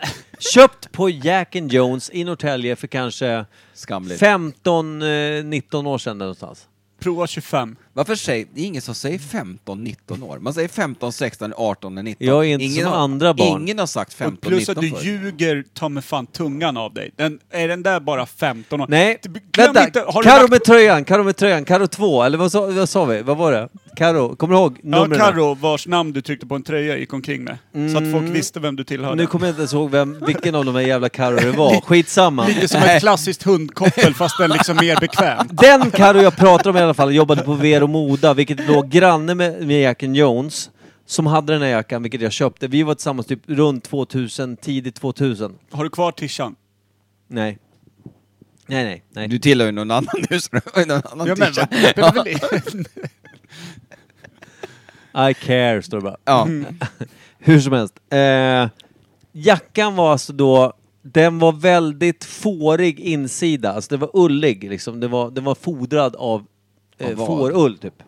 S1: Köpt på Jack and Jones i Norrtälje för kanske
S2: Skamligt.
S1: 15-19 år sedan där någonstans.
S3: prova 25.
S2: Varför säger, det är ingen som säger 15, 19 år. Man säger 15, 16, 18, 19.
S1: Jag är inte som
S2: har,
S1: andra barn.
S2: Ingen har sagt 15,
S3: Och plus
S2: 19
S3: att du
S2: förr.
S3: ljuger ta med fan tungan av dig. Den, är den där bara 15 år? Typ,
S1: Nej,
S3: Glöm
S1: vänta!
S3: inte- har du
S1: Karo
S3: lagt-
S1: med tröjan, Karo med tröjan, Karo 2, eller vad sa, vad sa vi? Vad var det? Karo, kommer du ihåg
S3: Ja,
S1: numren?
S3: Carro, vars namn du tryckte på en tröja gick omkring med. Så att folk visste vem du tillhörde.
S1: Mm. Nu kommer jag inte ens ihåg vem, vilken av de här jävla Karo det var, skitsamma.
S3: Lite som ett klassiskt hundkoppel fast den liksom mer bekväm.
S1: Den Karo jag pratar om i alla fall jobbade på Vero Moda, vilket låg granne med, med Jacken Jones, som hade den här jackan, vilket jag köpte. Vi var tillsammans typ runt 2000, tidigt 2000.
S3: Har du kvar tishan?
S1: Nej. Nej, nej, nej.
S2: Du tillhör ju någon annan nu, så du har ju någon annan
S3: Ja, men,
S2: tisha.
S1: I care, står det bara.
S2: Ja.
S3: Mm.
S1: Hur som helst. Eh, jackan var alltså då, den var väldigt fårig insida, alltså den var ullig liksom. Den var, den var fodrad av, eh,
S2: Av vad?
S1: fårull typ.
S2: men-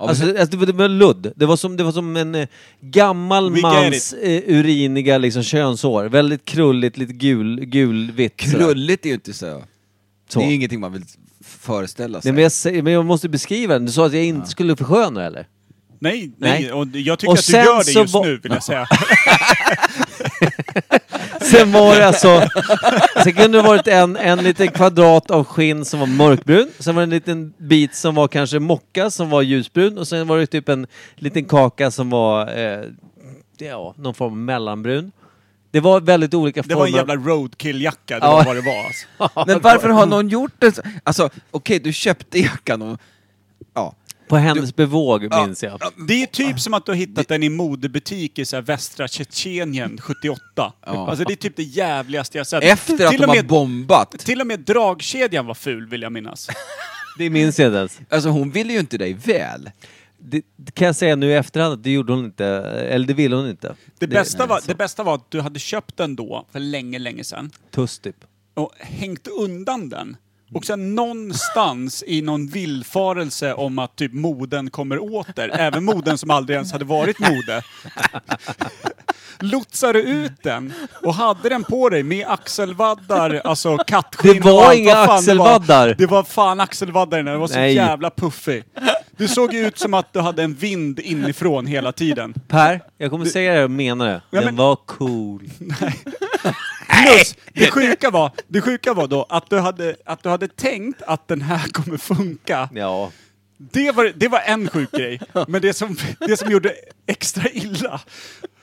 S1: Alltså, alltså det, var, det var ludd. Det var som, det var som en eh, gammal
S3: We get
S1: mans eh, uriniga liksom, könshår. Väldigt krulligt, lite gul, gulvitt. sådär.
S2: Krulligt är ju inte så.
S1: Så.
S2: Det är ju ingenting man vill föreställa sig.
S1: Nej, men, jag, säger- men jag måste beskriva den. Du sa att jag inte skulle försköna det, eller?
S3: Nej, nej.
S1: Nej.
S3: Och jag tycker
S1: Och
S3: att du
S1: sen
S3: gör det
S1: så
S3: just
S1: var-
S3: nu, vill jag säga.
S1: Sen var det alltså... Sen kunde det varit en, en liten kvadrat av skinn som var mörkbrun. Sen var det en liten bit som var kanske mocka som var ljusbrun. Och sen var det typ en liten kaka som var eh, ja, någon form av mellanbrun. Det var väldigt olika
S3: Det
S1: former.
S3: var en jävla roadkill-jacka, det
S1: Ja.
S3: var vad det var. Alltså.
S2: Men varför har någon gjort det så? Alltså, okej, du köpte jackan och... Ja.
S1: På hennes bevåg minns jag.
S3: Det är ju typ som att du har hittat den i modebutik i så här västra Tjetjenien 78. Alltså det är typ det jävligaste jag sett.
S2: Efter att
S3: till
S2: de
S3: och
S2: har
S3: med,
S2: bombat.
S3: Till och med dragkedjan var ful vill jag minnas.
S1: Det minns jag inte ens.
S2: Alltså hon vill ju inte dig väl.
S1: Det, det kan jag säga nu i efterhand att det gjorde hon inte, eller det ville hon inte.
S3: Det bästa,
S1: nej,
S3: var,
S1: så.
S3: det bästa var att du hade köpt den då, för länge, länge sedan,
S1: Tuss typ.
S3: och hängt undan den. Och sen någonstans i någon villfarelse om att typ moden kommer åter, även moden som aldrig ens hade varit mode, lotsade ut den och hade den på dig med axelvaddar, alltså kattskinn
S1: Det var
S3: och allt vad
S1: inga
S3: fan det var.
S1: axelvaddar.
S3: Det var fan axelvaddar i den, det var så
S1: Nej.
S3: jävla puffig. Du såg ju ut som att du hade en vind inifrån hela tiden.
S1: Per, jag kommer säga det jag menar det.
S3: Ja,
S1: Den
S3: men-
S1: var cool.
S3: Plus, det sjuka var, det sjuka var då att du, hade, att du hade tänkt att den här kommer funka.
S1: Ja.
S3: Det var, det var en sjuk grej, men det som, det som gjorde extra illa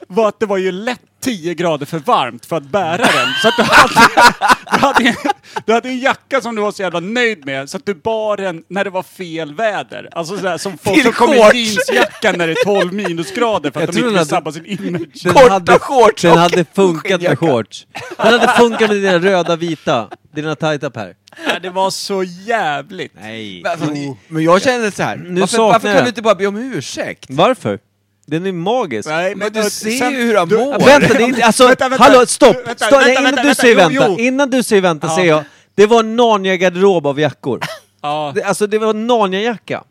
S3: var att det var ju lätt 10 grader för varmt för att bära den. Så att du hade, du hade, en- du hade en jacka som du var så jävla nöjd med, så att du bar den när det var fel väder. Alltså sådär som folk som kommer i jeansjacka när det är 12 minusgrader för
S1: Jag
S3: att de
S1: tror
S3: inte vill
S1: att-
S3: sabba sin image.
S1: Den
S2: Korta shorts
S1: Den
S2: och
S1: hade funkat med
S2: skinnjacka.
S1: shorts. Den hade funkat med dina röda vita. Dina tajta Per.
S3: Nej, Det var så jävligt.
S1: Nej.
S2: Men, alltså, men jag känner så här.
S1: Nu
S2: varför
S1: saknar
S2: varför
S1: jag.
S2: kan du inte bara be om ursäkt?
S1: Varför? Den är magisk.
S3: Nej,
S2: Men du ser ju hur han
S3: du-
S2: mår.
S1: Vänta, det är inte, alltså,
S3: Vänta, vänta.
S1: hallå, stopp!
S3: Vänta,
S1: Stopp,
S3: vänta,
S1: nej,
S3: vänta,
S1: innan du
S3: vänta.
S1: säger
S3: Jo,
S1: vänta,
S3: jo.
S1: innan du säger vänta säger jag, det var en Narnia-garderob av jackor.
S3: Ja,
S1: Det- Alltså det var en Narnia-jacka.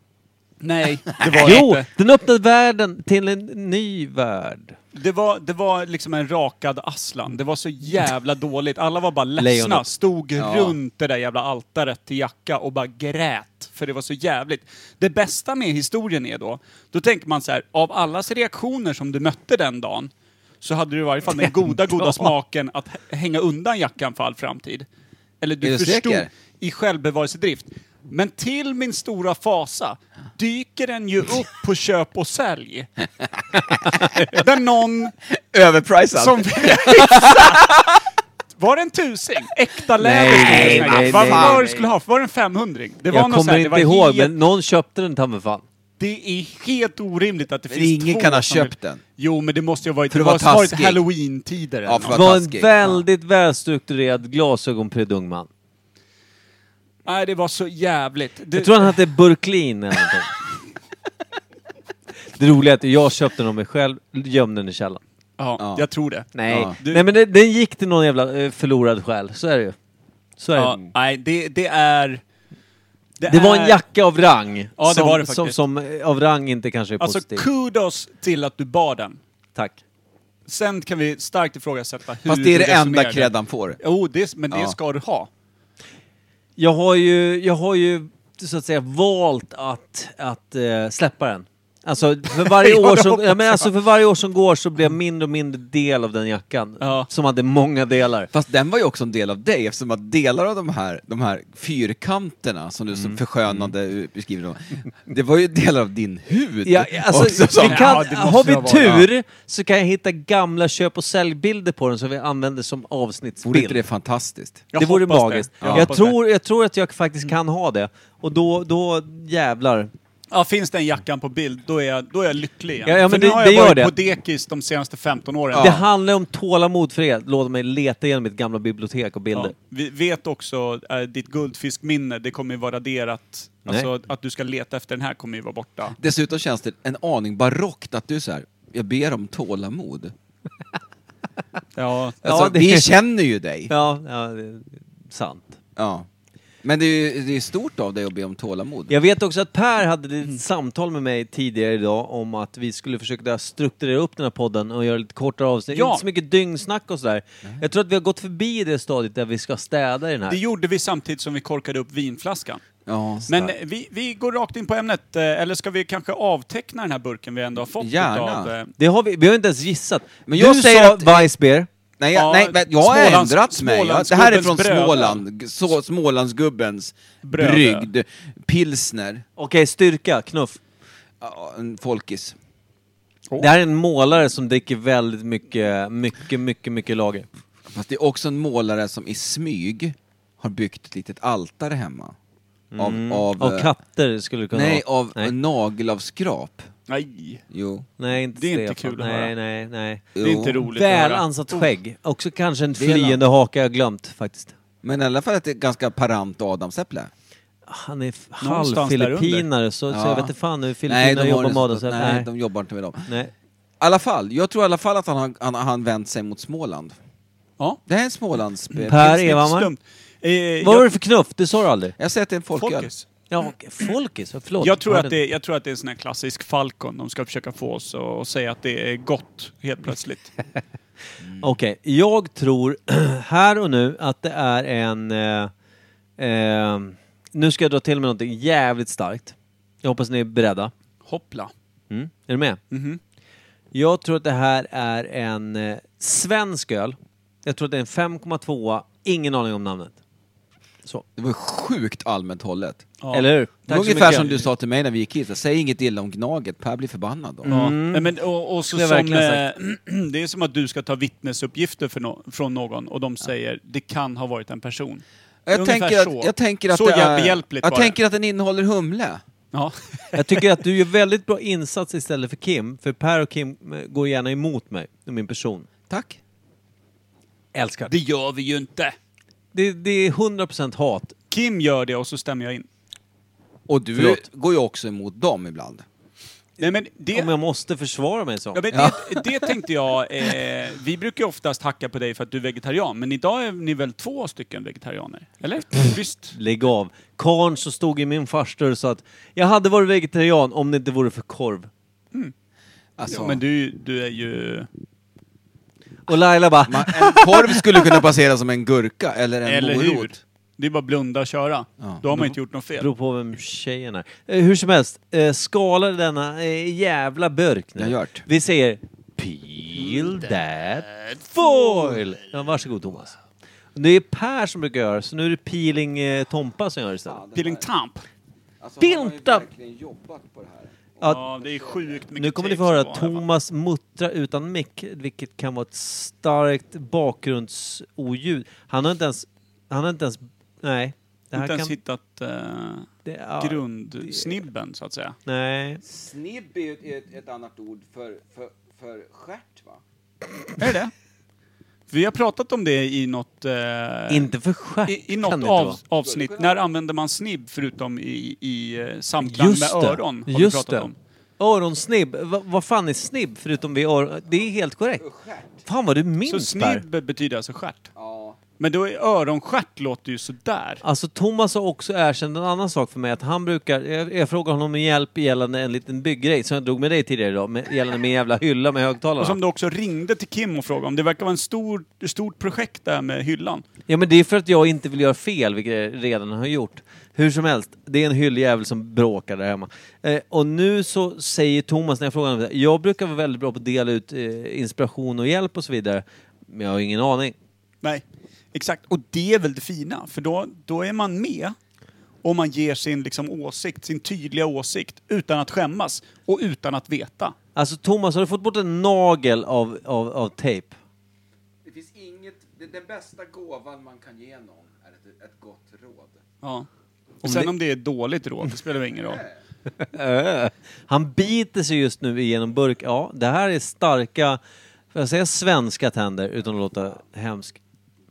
S3: nej, det var det
S1: Jo,
S3: inte.
S1: den öppnade världen till en ny värld.
S3: Det var, det var liksom en rakad Aslan. Det var så jävla dåligt. Alla var bara ledsna.
S1: Lejonet.
S3: Stod
S2: Ja.
S3: runt det där jävla altaret till jacka och bara grät. För det var så jävligt. Det bästa med historien är då, då tänker man så här, av allas reaktioner som du mötte den dagen, så hade du i varje fall den goda, goda smaken att h- hänga undan jackan för all framtid. Eller
S2: Är
S3: du
S2: du
S3: förstod
S2: säker?
S3: i självbevarelsedrift. Men till min stora fasa dyker den ju upp på köp och sälj. Där någon
S2: Överprisad.
S3: som... Var det en tusing? Äkta läder?
S1: Nej,
S3: skulle jag
S1: nej,
S3: säga.
S1: nej,
S3: Vad
S1: nej,
S3: var
S1: nej.
S3: det skulle ha? Var det en 500 Det var
S1: Jag
S3: något så
S1: kommer
S3: här, det var
S1: inte ihåg,
S3: helt,
S1: men någon köpte den ta mig fan.
S3: Det är helt orimligt att det
S2: Men
S3: finns
S2: ingen
S3: två
S2: kan ha
S3: som vill-
S2: köpt den.
S3: Jo, men det måste ju ha varit...
S2: För
S3: Det
S2: det var
S3: måste ha varit
S2: taskig.
S3: halloween-tider eller
S2: Ja,
S3: något.
S1: Det
S2: Vad
S1: var en
S2: taskigt.
S1: väldigt välstrukturerad glasögonprydd man.
S3: Nej, det var så jävligt. Du,
S1: Jag tror han hette Burklin eller någonting. Det roliga är att jag köpte den av mig själv, gömde den i källaren.
S3: ja,
S2: Ja.
S3: jag tror det.
S1: Nej,
S2: Ja.
S1: Nej men det- den gick till någon jävla eh, förlorad själ, så är det ju. Så är
S3: Ja,
S1: det.
S3: nej, det, det är...
S1: Det var
S3: är-
S1: en jacka av rang.
S3: Ja, det
S1: som,
S3: var det
S1: som,
S3: faktiskt.
S1: som eh, av rang inte kanske är
S3: Alltså,
S1: positiv.
S3: kudos till att du bar den.
S1: Tack.
S3: Sen kan vi starkt ifrågasätta hur
S2: Fast det är
S3: du
S2: det enda
S3: resonerade.
S2: cred han får.
S3: Jo, det, men det
S2: Ja.
S3: ska du ha.
S1: Jag har ju, jag har ju så att säga valt att, att eh, släppa den. Alltså för, varje
S3: Ja, det
S1: år som,
S3: hoppas
S1: ja, men
S3: jag.
S1: alltså för varje år som går så blir jag mindre och mindre del av den jackan.
S3: Ja.
S1: Som hade många delar.
S2: Fast den var ju också en del av dig eftersom att delar av de här, de här fyrkanterna som du så förskönande mm. beskriver dem, det var ju delar av din hud.
S1: Ja, alltså,
S2: också som-
S1: vi kan,
S3: Ja, det måste
S1: har vi
S3: det ha varit.
S1: tur så kan jag hitta gamla köp och säljbilder på den som vi använder som
S2: Vore inte
S1: avsnittsbild.
S2: det fantastiskt?
S3: Jag
S1: det vore
S3: hoppas
S1: magiskt.
S3: det. Mm. Jag
S1: Jag,
S3: hoppas
S1: tror, jag tror att jag faktiskt kan ha det. Och då, då jävlar.
S3: Ja, finns den jackan på bild, då är jag, då är jag lycklig igen.
S1: Ja, ja, men
S3: För
S1: det-
S3: nu har
S1: det
S3: jag
S1: gör
S3: varit
S1: det.
S3: på dekis de senaste 15 åren.
S1: Det handlar om tålamod för er. Låt mig leta igenom mitt gamla bibliotek och bilder.
S3: Vi vet också, äh, ditt guldfiskminne, det kommer ju vara raderat.
S1: Nej.
S3: Alltså att du ska leta efter den här kommer ju vara borta.
S2: Dessutom känns det en aning barockt att du är så här. jag ber om tålamod.
S3: Ja.
S2: Alltså,
S1: det-
S2: Vi känner ju dig. Ja.
S1: Ja, ja det är sant.
S2: Men det är, ju- det är stort av dig att be om tålamod.
S1: Jag vet också att Per hade
S3: Mm.
S1: ett samtal med mig tidigare idag om att vi skulle försöka strukturera upp den här podden och göra lite kortare avsnitt.
S3: Ja.
S1: Inte så mycket dyngsnack och sådär. Jag tror att vi har gått förbi det stadiet där vi ska städa i den här.
S3: Det gjorde vi samtidigt som vi korkade upp vinflaskan.
S2: Ja.
S3: Men eh, vi, vi går rakt in på ämnet, eh, eller ska vi kanske avteckna den här burken vi ändå har fått
S2: Gärna.
S3: utav... eh,
S1: Det har vi, vi har inte ens gissat.
S2: Men
S1: du
S2: jag säger
S1: sa
S2: att-
S1: Weissbier.
S2: Nej, jag,
S3: Ja,
S2: nej, men jag har
S3: Smålands-
S2: ändrat mig. Jag, det här är från
S3: Smålandsgubbens bröder.
S2: Småland, G- så, Smålandsgubbens
S3: Bröder.
S2: brygd, pilsner,
S1: Okej, styrka, knuff.
S2: Ja, en folkis.
S1: Det här är en målare som dricker väldigt mycket, mycket, mycket, mycket lager.
S2: Fast det är också en målare som i smyg har byggt ett litet altare hemma. av, av,
S1: Mm. Av
S3: Äh.
S2: eh,
S1: katter skulle det kunna
S2: Nej,
S1: vara.
S2: av
S1: Nej.
S2: nagelavskrap.
S3: Nej,
S2: Jo.
S1: nej, inte
S3: det är inte
S1: Stefan.
S3: kul att
S1: Nej,
S3: höra.
S1: nej, nej.
S3: det
S2: jo.
S3: är inte roligt
S1: Väl
S3: att höra.
S1: ansatt skägg. Också kanske en
S2: Det är en
S1: flyende haka jag glömt faktiskt.
S2: Men i alla fall att det är ganska parant adamsäpple.
S1: Han är f-
S3: Någonstans
S1: halvfilippinare, så, så
S2: Ja.
S1: jag vet inte fan hur filippiner
S2: har
S1: jobbar
S2: det
S1: med
S2: så-
S1: Adamsäpplen.
S2: nej,
S1: Nej,
S2: de jobbar inte med dem. I
S1: nej.
S2: alla fall, jag tror i alla fall att han har han, han vänt sig mot Småland.
S3: Ja.
S2: Det här är en Smålandsspel.
S1: Per
S3: Lite
S1: Evhammar.
S3: stumt. Eh,
S1: Vad var det
S3: jag,
S1: för knuff? Det sa du aldrig.
S2: Jag säger att det är en folköl.
S3: Folkets.
S1: Ja, och- folkis. Förlåt.
S3: jag, tror
S1: Ja,
S3: att det, jag tror att det är en sån här klassisk Falcon. De ska försöka få oss att att säga att det är gott helt plötsligt.
S1: Okej, jag tror här och nu att det är en... Eh, eh, nu ska jag dra till med någonting jävligt starkt. Jag hoppas ni är beredda.
S3: Hoppla.
S1: Mm. Är du med?
S3: Mhm.
S1: Jag tror att det här är en eh, svensk öl. Jag tror att det är en 5,2. Ingen aning om namnet. Så.
S2: Det var sjukt allmänt hållet.
S3: Ja.
S1: Eller hur?
S2: Det var Ungefär som du sa till mig när vi gick hit, så säg inget illa om Gnaget, Per blir förbannad då.
S3: Ja. Nej, Men, och, och så
S1: Det är
S3: som, eh,
S1: verkligen
S3: det är som att du ska ta vittnesuppgifter för nå- från någon och de säger det kan ha varit en person.
S2: Jag
S3: Ungefär
S2: tänker,
S3: så.
S2: att, jag tänker att
S3: Så
S2: det är,
S3: hjälpligt
S2: Jag
S3: var det.
S2: tänker att den innehåller humle.
S3: Ja.
S1: Jag tycker att du gör väldigt bra insats istället för Kim. För Per och Kim eh, går gärna emot mig och min person.
S2: Tack.
S1: Älskar.
S3: Det gör vi ju inte!
S1: Det, det är 100% hat.
S3: Kim gör det och så stämmer jag in.
S2: Och du
S1: Förlåt.
S2: går ju också emot dem ibland.
S3: Nej, men det,
S1: Om jag måste försvara mig så.
S3: Ja, men Det, det tänkte jag. Eh, vi brukar ju oftast hacka på dig för att du är vegetarian, men idag är ni väl två stycken vegetarianer? Eller? Visst?
S1: Lägg av. Karn så stod i min farstur och sa att jag hade varit vegetarian om det inte vore för korv.
S2: Alltså,
S3: Men du, du är ju...
S1: Och Laila bara,
S2: man, en korv skulle kunna passera som en gurka eller en
S3: Eller
S2: morot.
S3: hur? Det är bara blunda och köra.
S2: Ja.
S3: Då har man inte gjort något fel.
S1: beror på vem tjejen är. Eh, hur som helst, eh, skala denna eh, jävla burk nu.
S2: Jag gör det.
S1: Vi säger Peel that foil! Ja, varsågod Thomas. Det är Per som brukar göra så nu är det Peeling eh, Tompa som gör det istället.
S3: Peeling tamp.
S2: Alltså,
S1: Pinta! Ja,
S3: Ja, det är sjukt mycket
S1: nu kommer ni
S3: tape
S1: få höra
S3: som var här, va?
S1: Thomas muttra utan mick, vilket kan vara ett starkt bakgrundsoljud. Han har inte ens... Han har inte ens... Nej. Det här
S3: Inte ens
S1: kan...
S3: hittat eh,
S1: Det, ja,
S3: grundsnibben, så att säga.
S1: Nej.
S2: Snibb är ju ett, annat ord för, för, för stjärt va?
S3: Är det Vi har pratat om det i något... eh,
S1: Inte för stjärt
S3: I, i
S1: kan
S3: något
S1: det inte
S3: av,
S1: vara.
S3: avsnitt, när använder man snibb förutom i, i eh, samklang
S1: Just
S3: med
S1: det.
S3: öron? Har vi
S1: Just
S3: pratat
S1: det.
S3: om.
S1: Öronsnibb. Va, vad fan är snibb förutom vid öron? Det är helt korrekt. Fan vad du
S3: Så
S1: minns Per.
S3: snibb betyder alltså stjärt.
S2: Ja.
S3: Men då är öronstjärt låter ju sådär.
S1: Alltså Thomas har också erkänt en annan sak för mig att han brukar, jag, jag frågar honom om hjälp gällande en liten bygggrej som jag drog med dig tidigare idag, med, gällande min jävla hylla med högtalarna.
S3: Och som du också ringde till Kim och frågade om. Det verkar vara en stor, ett stort projekt där med hyllan.
S1: Ja men det är för att jag inte vill göra fel, vilket jag redan har gjort. Hur som helst, det är en hylljävel som bråkar där hemma. Eh, och nu så säger Thomas när jag frågar honom, jag brukar vara väldigt bra på att dela ut eh, inspiration och hjälp och så vidare, men jag har ingen aning.
S3: Nej, exakt. Och det är väl det fina, för då, då är man med och man ger sin liksom, åsikt, sin tydliga åsikt utan att skämmas och utan att veta.
S1: Alltså Thomas, har du fått bort en nagel av, av, av tejp?
S2: Det finns inget, det, den bästa gåvan man kan ge någon är ett, ett gott råd.
S3: Ja. Och sen om det är dåligt råd, det spelar väl ingen roll.
S1: Han biter sig just nu igenom burk. Ja, det här är starka, får jag säga svenska tänder utan att låta hemsk?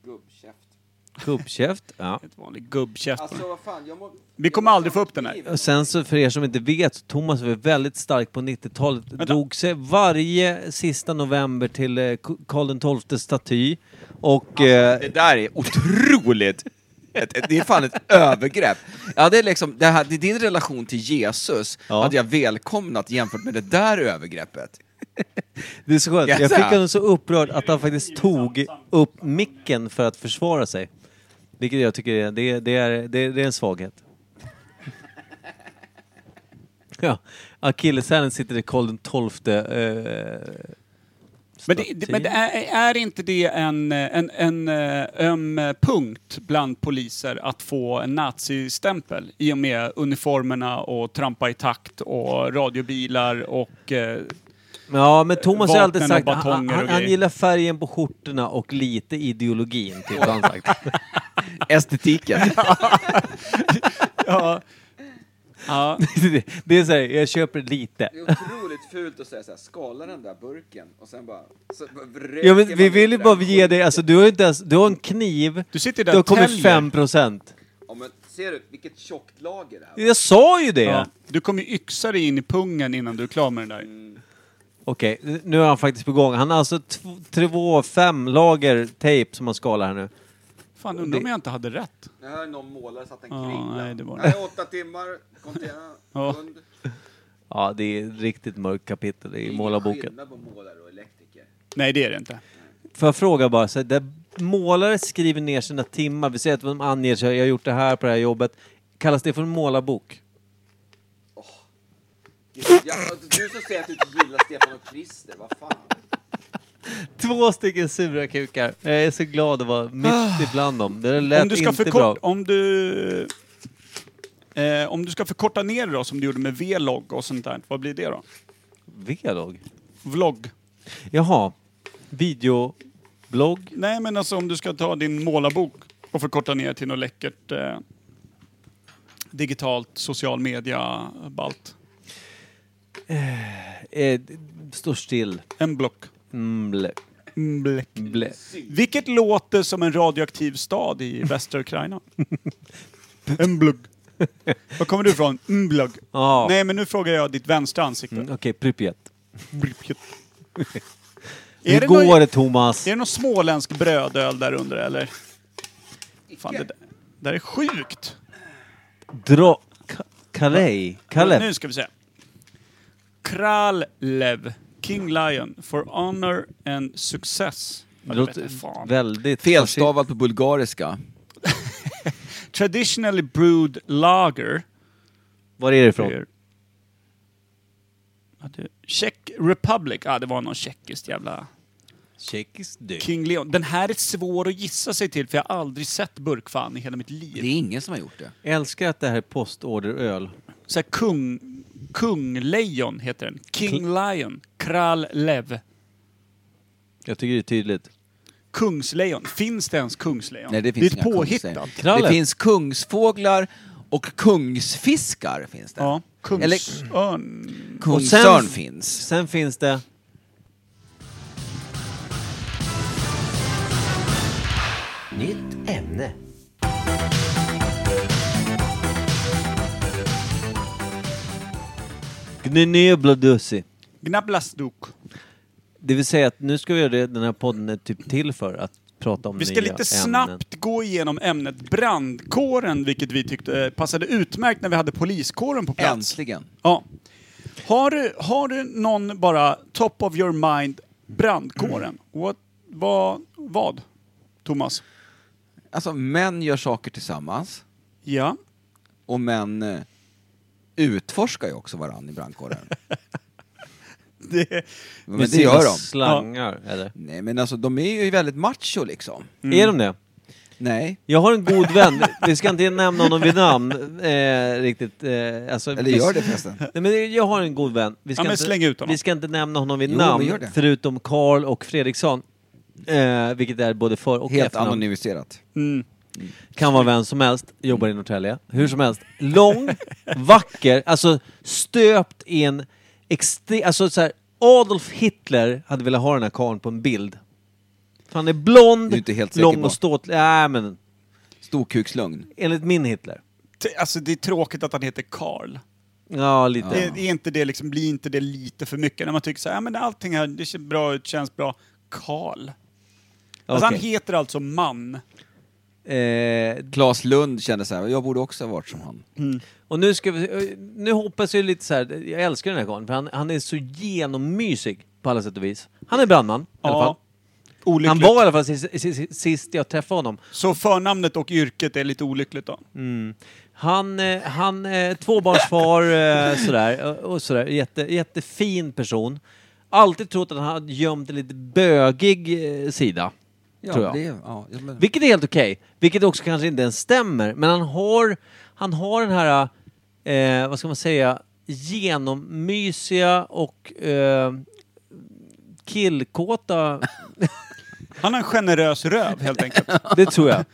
S2: Gubbkäft. Alltså,
S1: Kubbkäft? Ja.
S3: Ett vanligt gubbkäft.
S2: vad fan, jag må...
S3: Vi kommer aldrig få upp den här.
S1: Och sen så för er som inte vet, Thomas var väldigt stark på 90-talet. Drog sig varje sista november till eh, K- Karl XII staty. Och... Eh,
S2: Det där är otroligt! Ett- ett- Det är fan ett övergrepp. Ja, det är liksom, det här, det är din relation till Jesus
S1: Ja.
S2: hade jag välkomnat jämfört med det där övergreppet.
S1: det är så skönt.
S2: Yes,
S1: Jag fick
S2: sir.
S1: honom så upprörd att han faktiskt tog upp micken för att försvara sig. Vilket jag tycker är, det, det är, det, det är en svaghet. Ja, akilleshälen sitter i Karl XII. Eh,
S3: Men, det, det, men det är, är inte det en, en, en eh, öm punkt bland poliser att få en nazistämpel i och med uniformerna och trampa i takt och radiobilar och... Eh,
S1: Ja, men Thomas har alltid
S3: Vapnen
S1: sagt
S3: och
S1: att han,
S3: batonger och
S1: han, han
S3: grejer.
S1: gillar färgen på skjortorna och lite ideologin, typ har han sagt.
S2: Estetiken.
S3: Ja. Ja.
S1: Det- typ. det är såhär, jag köper lite.
S2: Det är otroligt fult att säga såhär, skala den där burken och sen bara... Så bara vräker
S1: Ja, men vi
S2: man
S1: vill ju
S2: ut
S1: bara
S2: den.
S1: ge dig, alltså du har ju inte ens, du har en kniv,
S3: Du
S1: du
S3: sitter där
S1: har
S3: och
S1: kommit
S3: täljer.
S1: 5%.
S2: Ja, men ser du vilket tjockt lager det här var?
S1: Jag sa ju det!
S3: Ja. Du kommer ju yxa dig in i pungen innan du är klar med den där.
S1: Okej, nu är han faktiskt på gång. Han har alltså tv- två, fem lager tejp som han skalar här nu.
S3: Fan, undrar om jag inte hade rätt.
S2: Jag hör någon målare satt en
S3: Ja,
S2: kringla.
S3: nej, det var det.
S2: Nej, åtta timmar, container,
S3: Ja.
S2: hund.
S1: Ja, det är ett riktigt mörkt kapitel
S2: Det är
S1: i
S2: ingen
S1: målarboken.
S2: skillnad på målare och elektriker.
S3: Nej, det är det inte.
S1: Får jag fråga bara, så här, där målare skriver ner sina timmar, vi säger att de anger sig, jag har gjort det här på det här jobbet. Kallas det för en målarbok?
S2: Ja, du som säger att du inte gillar Stefan och Christer, vad fan?
S1: Två stycken sura kukar. Jag är så glad att vara mitt ibland dem. Det där lät
S3: Om du ska
S1: inte bra.
S3: förkorta... Om du... Eh, om du ska förkorta ner det då, som du gjorde med vlogg och sånt där, vad blir det då?
S1: Vlogg?
S3: Vlogg?
S1: Jaha. Videoblogg?
S3: Nej, men alltså om du ska ta din målarbok och förkorta ner till något läckert eh, digitalt social media-balt.
S1: Eh, d- står still.
S3: En block.
S1: Mble.
S3: Bläck.
S1: Ble.
S3: Vilket låter som en radioaktiv stad i västra Ukraina. en blugg. Var kommer du ifrån? En blugg.
S1: Ja.
S3: Nej, men nu frågar jag ditt vänstra ansikte.
S1: Mm, Okej, Pripyat.
S3: Är,
S1: Hur
S3: det
S1: går
S3: någon,
S1: det Thomas?
S3: är det någon småländsk brödöl där under eller? Fan, det där, det där är sjukt.
S1: Dra... Ka- Kalej?
S3: Nu
S1: Kalev?
S3: ska vi se. Krallev, King Lion, for honor and success.
S1: Det
S3: Jag vet inte,
S1: låter
S3: fan.
S1: väldigt...
S2: Felstavat på bulgariska.
S3: Traditionally brewed lager.
S1: Var är det ifrån?
S3: Är- Ja, det- Czech Republic. Ah, det var någon tjeckiskt jävla...
S1: Tjeckiskt dyrt.
S3: King Leon. Den här är svår att gissa sig till för jag har aldrig sett burkfan i hela mitt liv.
S2: Det är ingen som har gjort det.
S1: Älskar att det här är postorderöl.
S3: så här kung, Kunglejon heter den. King Lion. Kral Lev.
S1: Jag tycker det är tydligt.
S3: Kungslejon. Finns det ens kungslejon?
S2: Nej, det finns
S3: är ett
S2: inga
S3: påhittat.
S2: kungslejon.
S1: Kralle.
S2: Det finns kungsfåglar och kungsfiskar finns det.
S3: Ja.
S2: Eller-
S3: Kungsörn.
S1: Och
S2: Kungsörn
S1: sen-
S2: finns.
S1: Sen finns det...
S7: Nytt ämne.
S1: Gnynöbladussi.
S3: Gnablasduk.
S1: Det vill säga att nu ska vi göra det den här podden är typ till för att prata om
S3: Vi ska
S1: nya
S3: lite
S1: ämnen.
S3: snabbt gå igenom ämnet brandkåren, vilket vi tyckte eh, passade utmärkt när vi hade poliskåren på plats.
S2: Äntligen.
S3: Ja. Har du, har du någon bara top of your mind brandkåren? What, vad, vad? Thomas?
S2: Alltså, män gör saker tillsammans
S3: Ja.
S2: och män eh, utforskar ju också varandra i brandkåren.
S3: Det,
S2: Men
S1: Med
S2: det
S1: sina
S2: gör de.
S1: slangar, eller?
S2: Nej, men alltså de är ju väldigt macho liksom.
S3: Mm.
S1: Är de det?
S2: Nej.
S1: Jag har en god vän, vi ska inte nämna honom vid namn eh, riktigt. Eh, alltså,
S2: Eller
S1: vi-
S2: gör det förresten.
S1: Nej, men jag har en god vän. Vi ska,
S3: Ja, men
S1: inte,
S3: släng ut honom.
S1: vi ska inte nämna honom vid
S2: Jo, men
S1: namn,
S2: gör det.
S1: förutom Karl och Fredriksson. Eh, vilket är både för och
S2: Helt
S1: efternamn.
S2: anonymiserat.
S3: mm.
S1: Kan vara vem som helst, jobbar i Norrtälje. Hur som helst. Lång, vacker, alltså stöpt i en extre- Alltså så här, Adolf Hitler hade velat ha den här karln på en bild. För han är blond,
S2: Du är inte helt säker
S1: lång
S2: på.
S1: och ståtlig. Nej men,
S2: Storkukslugn.
S1: enligt min Hitler.
S3: T- Alltså det är tråkigt att han heter Karl.
S1: Ja, lite.
S3: Det, är inte det liksom, blir inte det lite för mycket när man tycker så här, ja, men allting här, det ser bra ut, känns bra. Karl. Alltså han
S1: Okej.
S3: heter alltså man.
S1: Eh,
S2: Claes Lund kände så här, jag borde också ha varit som han.
S1: och nu ska vi, eh, nu hoppas jag lite så här. jag älskar den här karln för han, han är så genommysig på alla sätt och vis. Han är brandman i alla fall.
S3: Olyckligt.
S1: Han var i alla fall sist, sist, sist jag träffade honom.
S3: Så förnamnet och yrket är lite olyckligt då.
S1: Mm. Han, eh, han eh, tvåbarnsfar eh, sådär, och- och sådär. Jätte, jättefin person. Alltid trott att han hade gömt en lite bögig eh, sida. tror jag.
S2: det, ja, ja, men,
S1: Vilket är helt okej. Vilket också kanske inte ens stämmer. Men han har, han har den här, eh, vad ska man säga, genommysiga och eh, killkåta,
S3: Han har en generös röv helt enkelt.
S1: det tror jag.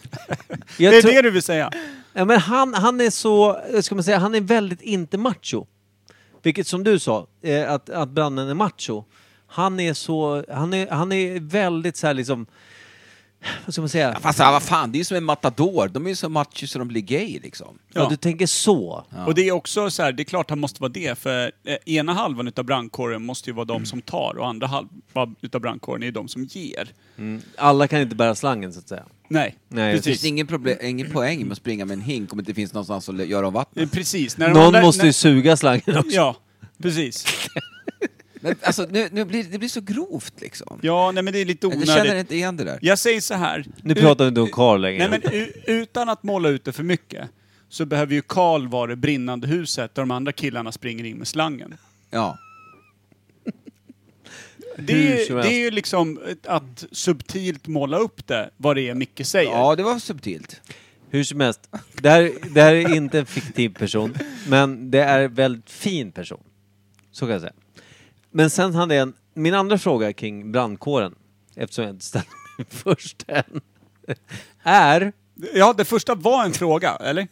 S3: det är
S1: jag tror-
S3: det du vill säga.
S1: Ja, men han, han är så, eh, ska man säga, han är väldigt inte macho. Vilket som du sa, eh, att, att Brannen är macho. Han är så, han är, han är väldigt så här liksom, vad ska man säga? Ja,
S2: Fast ja, vad fan, det är ju som en matador. De är ju så macho så de blir gay liksom.
S3: Ja.
S1: du tänker så.
S3: Och det är också så här, det är klart han måste vara det, för eh, ena halvan utav brandkåren måste ju vara
S1: Mm.
S3: de som tar och andra halvan utav brandkåren är de som ger.
S1: Alla kan inte bära slangen så att säga.
S3: Nej,
S1: Nej,
S2: Det finns
S3: precis.
S2: ingen, problem, ingen poäng med att springa med en hink om det inte finns någonstans att le- göra av vattnet.
S3: Eh, Precis. När de
S1: Någon
S3: andra-
S1: måste
S3: när-
S1: ju suga slangen också.
S3: Ja, precis.
S2: Men alltså, nu, nu blir, det blir så grovt liksom.
S3: Ja, nej men det är lite
S2: Jag känner
S3: onödigt.
S2: inte igen det där.
S3: Jag säger så här.
S1: Nu
S3: ut-
S1: pratar vi inte om Karl längre.
S3: Nej men u- utan att måla ut det för mycket så behöver ju Karl vara det brinnande huset där de andra killarna springer in med slangen.
S2: Ja.
S3: Det är,
S1: Hur
S3: ju-
S1: som
S3: det
S1: helst.
S3: är ju liksom ett- att subtilt måla upp det, vad det är Micke säger.
S2: ja, det var subtilt.
S1: Hur som helst, det här, det här är inte en fiktiv person, men det är en väldigt fin person. Så kan jag säga. Men sen hade jag en, min andra fråga kring brandkåren, eftersom jag inte ställde min först än, är...
S3: Ja, det första var en fråga, eller?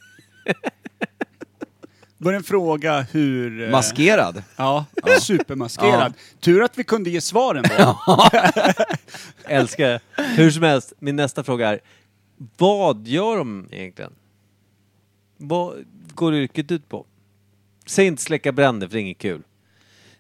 S3: Var det en fråga hur... eh,
S2: Maskerad.
S3: Ja, supermaskerad. Tur att vi kunde ge svaren då.
S1: Älskar det. Hur som helst, min nästa fråga är, vad gör de egentligen? Vad går yrket ut på? Säg inte släcka bränder, för det är inget kul.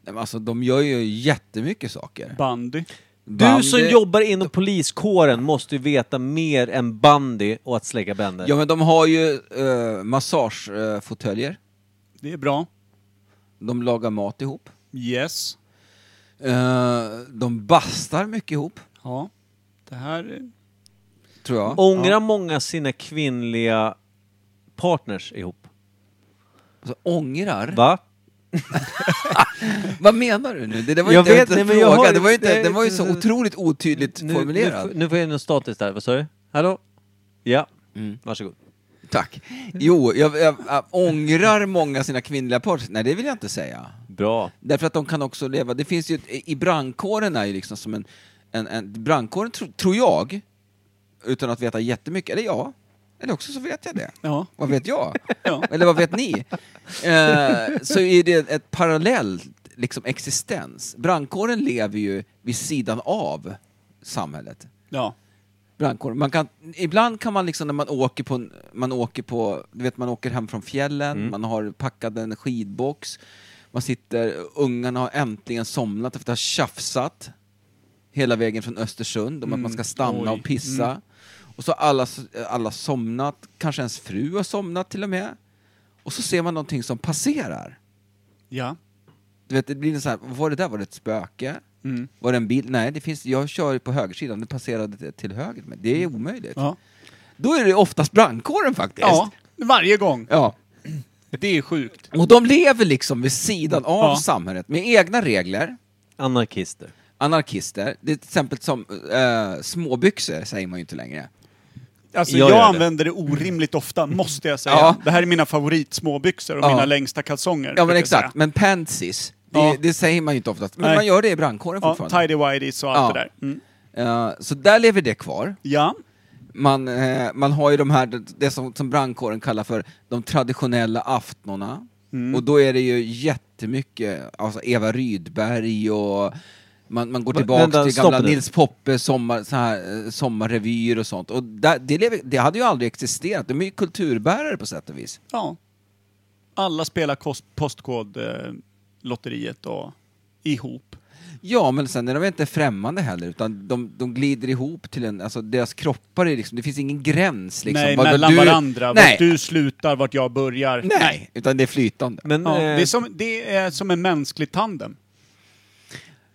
S2: Nej, men Alltså, de gör ju jättemycket saker.
S3: Bandy.
S1: Du som
S2: Bandy-
S1: jobbar inom poliskåren måste ju veta mer än bandy och att släcka bränder.
S2: Ja, men de har ju uh, massagefåtöljer.
S3: Det är bra.
S2: De lagar mat ihop.
S3: Yes.
S2: Eh, de bastar mycket ihop,
S3: Ja. Det här... eh,
S2: tror jag.
S1: Ångrar många sina kvinnliga partners ihop?
S2: Alltså, ångrar.
S1: Va?
S2: Vad menar du nu? Det, där var
S1: Jag
S2: inte
S1: vet,
S2: en
S1: nej, men jag
S2: fråga.
S1: har-
S2: det var ju inte,
S1: det-
S2: den var ju så otroligt otydligt
S1: Nu, nu,
S2: formulerad.
S1: nu får jag någon status där, vad sa du? Hallå? Ja,
S3: Mm.
S1: varsågod.
S2: Tack. Jo, jag, jag, jag ångrar många sina kvinnliga partners. Nej, det vill jag inte säga.
S1: Bra.
S2: Därför att de kan också leva, det finns ju, ett- i brandkåren är ju liksom som en, en, en brandkåren tro, tror jag, utan att veta jättemycket, eller ja, eller också så vet jag det.
S3: Ja.
S2: Vad vet jag?
S3: Ja.
S2: Eller vad vet ni? Eh, så är det ett parallellt liksom, existens. Brandkåren lever ju vid sidan av samhället.
S3: Ja.
S2: brandkåren. Man kan, ibland kan man liksom när man åker på, en- man åker på, du vet man åker hem från fjällen,
S3: Mm.
S2: man har packat en skidbox, man sitter, ungarna har äntligen somnat efter att ha tjafsat hela vägen från Östersund om att man ska stanna
S3: Mm. Oj. Mm.
S2: och pissa. Och så har alla, s- alla somnat, kanske ens fru har somnat till och med. Och så ser man någonting som passerar.
S3: Ja.
S2: Du vet, det blir en så här, vad var det där? Var det ett spöke?
S3: Mm.
S2: Var det en bil? Nej, det finns, jag kör ju på högersidan, det passerade till- till höger. Men det är omöjligt.
S3: Ja.
S2: Då är det oftast brandkåren faktiskt.
S3: ja. Varje gång.
S2: Ja.
S3: Det är sjukt.
S2: Och de lever liksom vid sidan av
S3: Ja.
S2: samhället med egna regler.
S1: Anarkister.
S2: Anarkister, det är till exempel som eh, småbyxor säger man ju inte längre.
S3: Alltså
S1: Jag
S3: jag,
S1: gör det.
S3: använder det orimligt ofta, måste jag säga.
S2: Ja.
S3: Det här är mina favoritsmåbyxor och
S2: Ja.
S3: mina längsta kalsonger.
S2: Ja men
S3: brukar jag
S2: exakt,
S3: säga.
S2: men pantsies, det,
S3: Ja.
S2: det säger man ju inte oftast. Men
S3: Nej.
S2: man gör det i brandkåren
S3: Ja,
S2: fortfarande.
S3: tidy-whities och allt
S2: Ja.
S3: det där. Mm.
S2: Eh, så där lever det kvar.
S3: Ja.
S2: Man, eh, man har ju de här, det, det som, som brandkåren kallar för de traditionella aftnorna. Och då är det ju jättemycket, alltså Eva Rydberg och man, man går
S1: Va-
S2: tillbaka
S1: vänta,
S2: till
S1: stopp
S2: gamla
S1: nu.
S2: Nils Poppe sommar, så här, eh, sommarrevyer och sånt. Och där, det, lever, det hade ju aldrig existerat, de är ju kulturbärare på sätt och vis.
S3: ja. Alla spelar kost- postkodlotteriet och ihop.
S2: Ja, men sen är de inte främmande heller, utan de, de glider ihop till en, alltså deras kroppar är liksom, det finns ingen gräns liksom.
S3: Nej,
S2: Vad- vad
S3: mellan
S2: du-
S3: varandra.
S2: Nej,
S3: Vart du slutar, vart jag börjar.
S2: nej, utan det är flytande.
S1: Men,
S3: Ja,
S1: eh,
S3: det, är som, det är som en mänsklig tandem.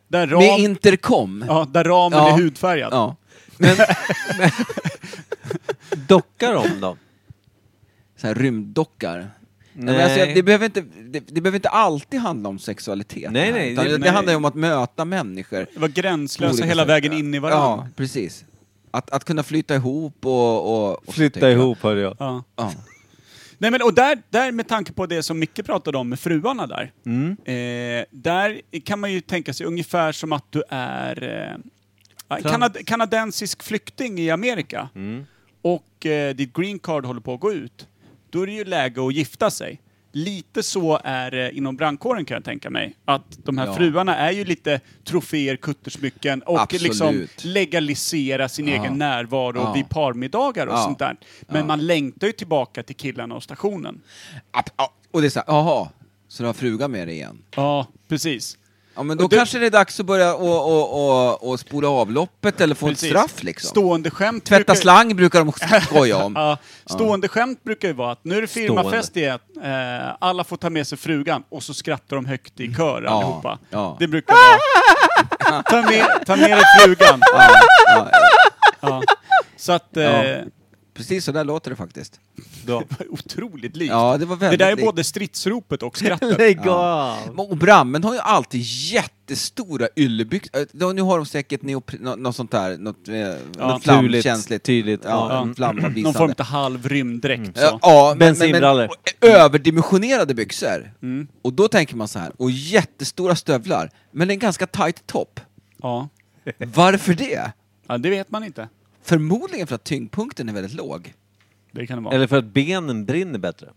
S3: Där,
S2: Med
S3: ram,
S2: intercom.
S3: ja, där ramen
S2: Ja.
S3: är hudfärgad.
S2: Ja.
S1: men, men dockar de då?
S2: så här rymddockar. Nej.
S1: Nej.
S2: men alltså, jag- det, behöver inte, det, det behöver inte alltid handla om sexualitet.
S1: Nej,
S2: det här,
S1: nej,
S2: utan
S1: det-
S2: det,
S3: nej.
S2: handlar ju om att möta människor.
S3: Det var gränslösa
S2: Olika
S3: hela
S2: sätt.
S3: vägen in i
S2: Ja,
S3: varandra.
S2: precis. Att, att kunna flytta ihop och... och, och
S1: Flytta
S2: tänka.
S1: ihop hörde jag.
S3: Ja.
S2: Ja.
S3: Nej, men, och där, där, med tanke på det som Micke pratade om med fruarna där.
S2: Mm.
S3: Eh, där kan man ju tänka sig ungefär som att du är eh, en kanad,
S2: Mm.
S3: kanadensisk flykting i Amerika. Och eh, ditt green card håller på att gå ut. då är det ju läge att gifta sig. Lite så är det inom brandkåren kan jag tänka mig. Att de här
S2: Ja.
S3: fruarna är ju lite troféer, kuttersmycken och
S2: Absolut.
S3: liksom legalisera sin egen närvaro
S2: Ja.
S3: vid parmiddagar och
S2: Ja.
S3: sånt där. Men man längtar ju tillbaka till killarna och stationen.
S2: App, ja. Och det är såhär, jaha, så du har frugan med dig igen?
S3: Ja, precis.
S2: Ja men då
S3: Och du-
S2: kanske det är dags att börja och, och, och, och spola avloppet eller få
S3: Precis.
S2: ett straff liksom.
S3: Stående skämt
S2: Tvätta
S3: brukar-
S2: slang brukar de också skoja om.
S3: Ja, stående skämt brukar ju vara att nu är det firmafest igen, eh, alla får ta med sig frugan och så skrattar de högt i kör allihopa.
S2: ja.
S3: Det brukar vara... Ta med, ta med dig frugan. Ja. Så att... Eh,
S2: Ja. Precis så där låter det faktiskt.
S1: Då.
S3: det var Otroligt likt.
S2: Ja, det var
S3: det
S2: väldigt
S3: där är
S2: likt.
S3: både stridsropet och skrattet.
S1: Lägg av!
S2: Men- Och Brammen har ju alltid jättestora yllebyxor. Eh, då- Nu har de säkert neopre- nå- något sånt där, något, eh, något
S1: Tydligt,
S2: flamkänsligt.
S1: tydligt, ja.
S2: Ja,
S1: Mm.
S3: Någon form
S2: flamavvisande.
S3: av halv rymddräkt.
S2: Mm. Ja,
S3: Så.
S2: ja, men, men, men
S1: Bensinbrallor.
S2: och överdimensionerade byxor.
S1: Mm.
S2: Och då tänker man så här, och jättestora stövlar, men en ganska tight topp.
S3: Ja.
S2: Varför det?
S3: ja, det vet man inte.
S2: Förmodligen för att tyngdpunkten är väldigt låg.
S3: Det kan det vara.
S1: Eller för att benen brinner bättre.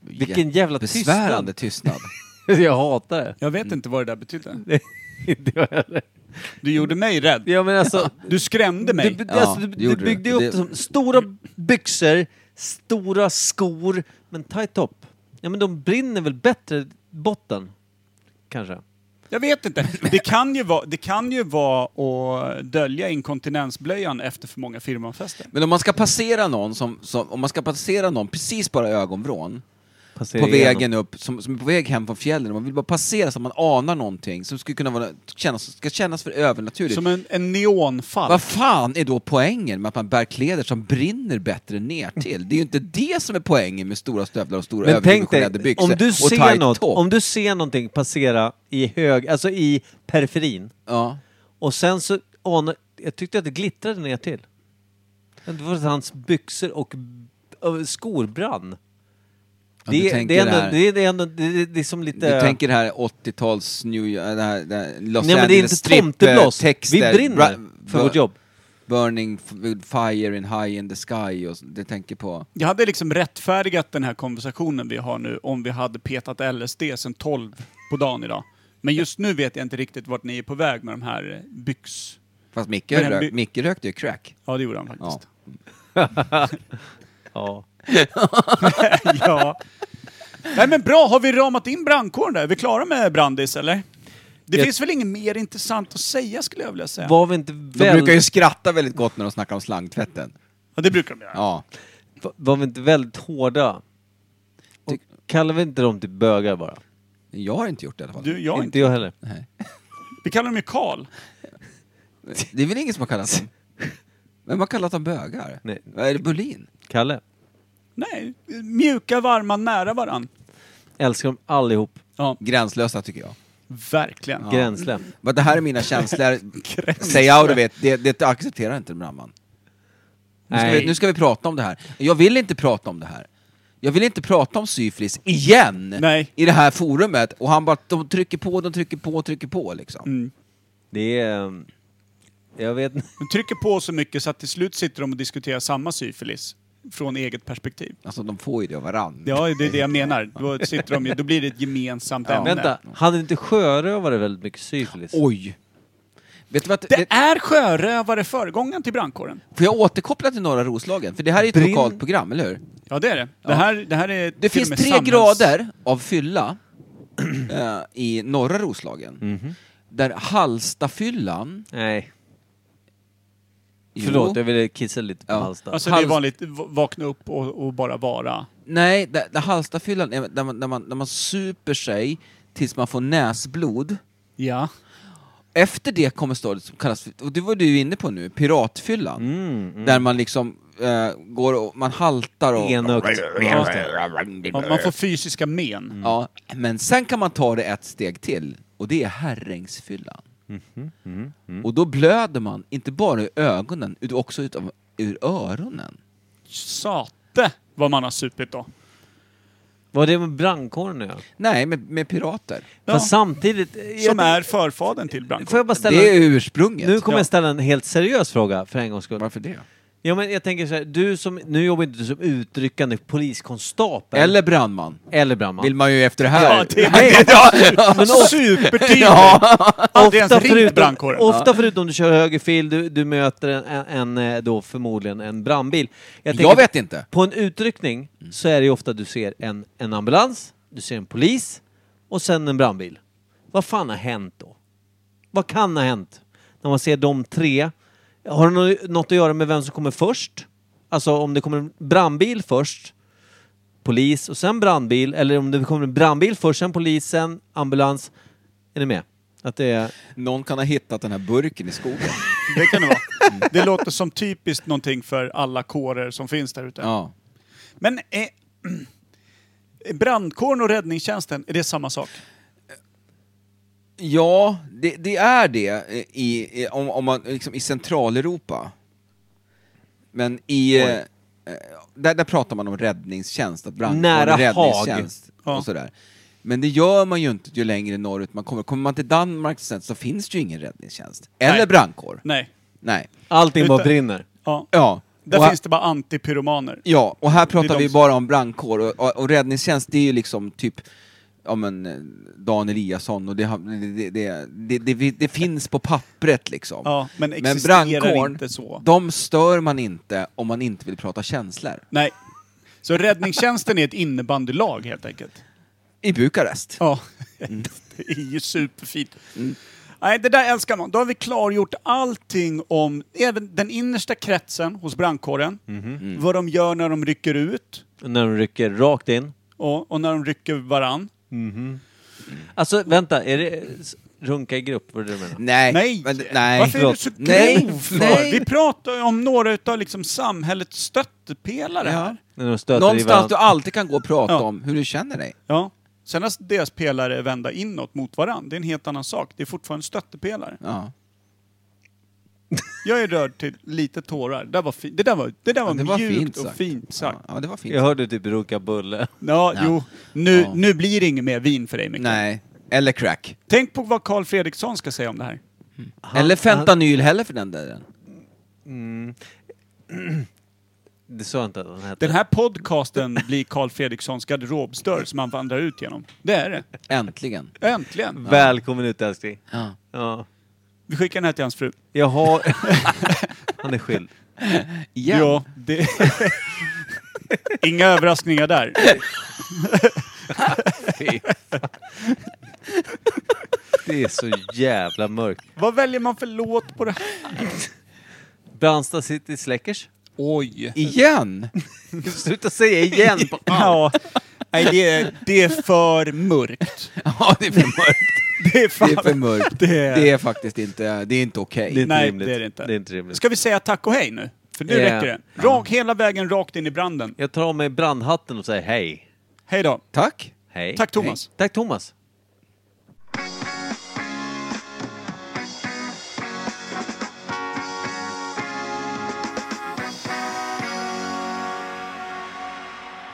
S1: Vilken jävla tystnad.
S2: Besvärande tystnad.
S1: Jag hatar det.
S3: Jag vet inte vad det där betydde.
S1: Inte jag heller.
S3: Du gjorde mig rädd.
S1: ja men alltså,
S3: Du skrämde mig.
S1: Du, du,
S2: Ja,
S1: alltså, du,
S2: det
S1: du
S2: gjorde
S1: byggde
S2: du.
S1: upp
S2: Det-
S1: det som stora byxor, stora skor, men tight top. Ja men de brinner väl bättre botten? Kanske.
S3: Jag vet inte. Det kan ju vara, det kan ju vara att dölja inkontinensblöjan efter för många firmafester.
S2: Men om man ska passera någon, som, som, om man ska passera någon precis bara ögonvrån,
S1: Passerar
S2: på
S1: igenom.
S2: vägen upp, som, som är på väg hem från fjällen, man vill bara passera så att man anar någonting som skulle kunna vara, kännas, ska kännas för övernaturligt.
S3: Som en, en neonfall.
S2: Vad fan är då poängen med att man bär kläder som brinner bättre ner till? Det är ju inte det som är poängen med stora stövlar och stora
S1: Men tänk dig,
S2: överdimensionerade byxor
S1: om du,
S2: och tight
S1: ser något,
S2: topp.
S1: om du ser någonting passera i hög, alltså i periferin,
S2: Ja.
S1: och sen så anar, jag tyckte att det glittrade ner till. Det var att hans byxor och ö, skor brann.
S2: Ja, du
S1: Det, är-
S2: tänker
S1: det, är ändå,
S2: det här-
S1: det, är- det är ändå, det, är- det är som lite...
S2: Du tänker det här 80-tals New York, det här, Alltså, det här Los
S1: Nej men det är
S2: Angeles
S1: inte
S2: strip,
S1: tomtebloss.
S2: eh,
S1: Vi
S2: texter,
S1: brinner
S2: bra-
S1: för
S2: bur-
S1: vårt jobb.
S2: Burning f- with fire in high in the sky och så- det tänker på...
S3: Jag hade liksom rättfärdigat den här konversationen vi har nu om vi hade petat LSD sen 12 på dagen idag. Men just nu vet jag inte riktigt vart ni är på väg med de här eh, byx...
S2: Fast Micke,
S3: Men den
S2: rök,
S3: by-
S2: Micke rökte ju crack.
S3: Ja, det gjorde han faktiskt.
S1: Ja.
S3: Ja. Nej men bra, har vi ramat in brandkåren där? Är vi klara med Brandis eller? Det
S1: Jag-
S3: finns väl inget mer intressant att säga skulle jag vilja säga.
S1: Var vi inte
S2: De brukar ju
S1: väldigt,
S2: skratta väldigt gott när de snackar om slangtvätten.
S3: Ja, det brukar de göra.
S2: Ja.
S1: var vi inte väldigt hårda? Och
S2: Tyck-
S1: kallar vi inte dem till bögar bara?
S2: Jag har inte gjort det i alla fall.
S3: Du, jag
S1: inte,
S3: inte.
S1: jag heller.
S3: Vi kallar dem ju Karl.
S2: Det är väl ingen som har kallat dem... Vem har kallat dem bögar?
S1: Nej.
S2: Vad Är det Berlin?
S1: Kalle?
S3: Nej, mjuka, varma, nära varann.
S1: Älskar dem allihop.
S3: Ja,
S2: Gränslösa tycker jag.
S3: verkligen.
S1: Gränsle.
S2: Men det här är mina känslor. Say out of it. Det, det accepterar inte en brandman. Nu ska, vi,
S1: Nej.
S2: nu ska vi prata om det här. Jag vill inte prata om det här. Jag vill inte prata om syfilis igen
S3: Nej.
S2: i det här forumet. Och han bara, de trycker på, de trycker på, trycker på liksom.
S3: Mm.
S1: Det är... ehm, Jag vet inte.
S3: De trycker på så mycket så att till slut sitter de och diskuterar samma syfilis från eget perspektiv.
S2: Alltså de får ju det av varann.
S3: Ja, det är det jag menar. Då, sitter de, ju- då blir det ett gemensamt
S2: Ja.
S3: ämne.
S1: Vänta, hade inte sjörövare väldigt mycket syfilis?
S2: Oj! Vet du vad, vet,
S3: Det är sjörövare föregångaren till brandkåren.
S2: får jag återkoppla till norra Roslagen? För det här är ett
S1: Brinn-
S2: lokalt program, eller hur?
S3: Ja, det är det. Det här, det här är
S2: Det
S3: till och
S2: finns
S3: med
S2: tre
S3: samhälls-
S2: grader av fylla eh, i norra Roslagen. Där Hallstafyllan...
S1: Nej.
S2: Jo.
S1: Förlåt, jag ville kissa lite på
S2: Ja.
S1: Hallsta.
S3: Alltså det är
S2: Hals-
S3: vanligt, v- vakna upp och, och bara vara.
S2: Nej, där, där Hallstafyllan är där man, där, man, där man super sig tills man får näsblod.
S3: Ja.
S2: Efter det kommer stadiet som kallas, för- och det var du ju inne på nu, piratfyllan. Där man liksom eh, går och man haltar och...
S1: Enögt.
S3: Man, man får fysiska men.
S2: Ja, men sen kan man ta det ett steg till, och det är herrängsfyllan. Och då blöder man, inte bara i ögonen, utan också utav, ur öronen.
S3: Sate vad man har supit då.
S1: Vad är det med brandkåren nu? Ja.
S2: Nej, med, med pirater.
S3: Ja.
S1: Fast samtidigt... eh, jag
S3: Som
S1: tänk-
S3: är förfadern till brandkåren.
S1: Får jag bara ställa...
S2: Det är ursprunget.
S1: Nu kommer
S3: Ja.
S1: jag ställa en helt seriös fråga för en gångs skull.
S2: Varför det?
S1: Ja, men jag tänker så här, du som, nu jobbar inte du som utryckande poliskonstapel.
S2: Eller brandman,
S1: eller brandman.
S2: vill man ju efter det här.
S3: Ja, det är-
S2: Nej, ja,
S1: Men
S3: Alltså, Supertydligt!
S2: ja.
S3: Aldrig ens ringt brandkåren.
S1: ofta förutom du kör högerfil, du, du möter en, en, en, eh, då förmodligen en brandbil. tänker-
S2: Jag vet inte. Mm.
S1: På en utryckning så är det ju ofta du ser en, en ambulans, du ser en polis och sen en brandbil. Vad fan har hänt då? Vad kan ha hänt? När man ser de tre. Har det nå- något att göra med vem som kommer först? Alltså om det kommer en brandbil först, polis och sen brandbil. Eller om det kommer en brandbil först, sen polisen, ambulans. Är ni med? Att det är...
S2: Någon kan ha hittat den här burken i skogen.
S3: Det kan det vara. Mm. Det låter som typiskt någonting för alla kårer som finns där ute.
S2: Ja.
S3: Men eh, brandkåren och räddningstjänsten, är det samma sak?
S2: Ja, det, det är det eh, i, i, om, om man, liksom, i Centraleuropa. Men i... eh, eh, Där, där pratar man om räddningstjänst, att brandkåren
S1: Nära
S2: är räddningstjänst
S3: Haag. Ja.
S2: och sådär. Men det gör man ju inte ju längre norrut man kommer. Kommer man till Danmark sen så finns det ju ingen räddningstjänst. Eller
S3: Nej.
S2: brandkår.
S3: Nej.
S2: Nej.
S1: Allting bara
S3: Utan-
S1: brinner.
S3: Ja.
S2: Ja.
S3: Där
S2: och här,
S3: finns det bara antipyromaner.
S2: ja, och här
S3: Det är
S2: pratar
S3: de
S2: vi
S3: som-
S2: bara om brandkår och, och, och räddningstjänst det är ju liksom typ Ja men eh, Dan Eliasson och det, har- det, det, det, det, det, det finns på pappret liksom.
S3: Ja, men
S2: Men
S3: existerar
S2: brandkåren,
S3: inte så.
S2: de stör man inte om man inte vill prata känslor.
S3: Nej. Så räddningstjänsten är ett innebandylag helt enkelt?
S2: I Bukarest.
S3: Ja.
S2: Mm.
S3: Det är ju superfint. Nej, det där älskar man. Då har vi klargjort allting om även den innersta kretsen hos brandkåren.
S2: Mhm.
S3: Vad de gör när de rycker ut
S1: När de rycker rakt in.
S3: och, och när de rycker varann.
S1: Alltså vänta, är det s- runka i grupp? Vad är det du menar?
S2: Nej.
S3: Nej.
S2: Men, nej.
S3: Varför är du
S1: förlåt.
S3: så
S2: Nej,
S3: grov för?
S2: nej.
S3: Vi pratar ju om några utav liksom samhällets stöttepelare
S2: Ja.
S3: här.
S1: När de stöter i
S2: Någonstans du
S1: varandra.
S2: alltid kan gå och prata
S3: Ja.
S2: om hur du känner dig.
S3: Ja. Sen att deras pelare är vända inåt mot varandra, det är en helt annan sak. Det är fortfarande stöttepelare.
S2: Ja.
S3: Jag är rörd till lite tårar. Det där var, fi- det där var, det där var,
S2: det var
S3: mjukt
S2: fint
S3: och
S2: sagt.
S3: fint sagt.
S2: Ja, det var fint.
S1: Jag hörde typ runka bulle.
S3: Ja,
S2: Ja.
S3: jo. Nu,
S2: Ja.
S3: nu blir det inget mer vin för dig, Micke.
S2: Nej. Eller crack.
S3: Tänk på vad Karl Fredriksson ska säga om det här.
S2: Eller fentanyl heller för den delen.
S1: Det sa jag inte att han hette.
S3: Den här podcasten blir Karl Fredrikssons garderobsdörr som han vandrar ut genom. Det är det.
S2: Äntligen.
S3: Äntligen.
S1: Välkommen ut älskling.
S2: Ja.
S1: Ja.
S3: Vi skickar den här till hans fru.
S1: Jag har... han är skild.
S2: Igen.
S3: Ja, det... Inga överraskningar där.
S1: Det är så jävla mörkt.
S3: Vad väljer man för låt på det här?
S1: Brandsta City Släckers.
S3: Oj.
S2: Igen?
S1: Sluta säga igen!
S3: Ja. Nej, det är, det är för mörkt.
S2: Ja, det är för mörkt.
S3: Det är fan...
S2: Det är för mörkt.
S3: Det är-
S2: Det är faktiskt inte, det är inte okej.
S1: Det är inte
S3: Nej,
S1: rimligt.
S3: det är det inte.
S1: Det är inte rimligt.
S3: Ska vi säga tack och hej nu? För nu
S1: Ja.
S3: räcker det. Rak, Hela vägen rakt in i branden.
S1: Jag tar av mig brandhatten och säger hej.
S3: Hej då.
S2: Tack.
S1: Hej.
S3: Tack Thomas.
S1: Tack Thomas.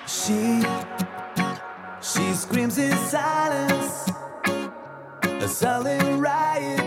S8: She she screams in silence, a silent riot.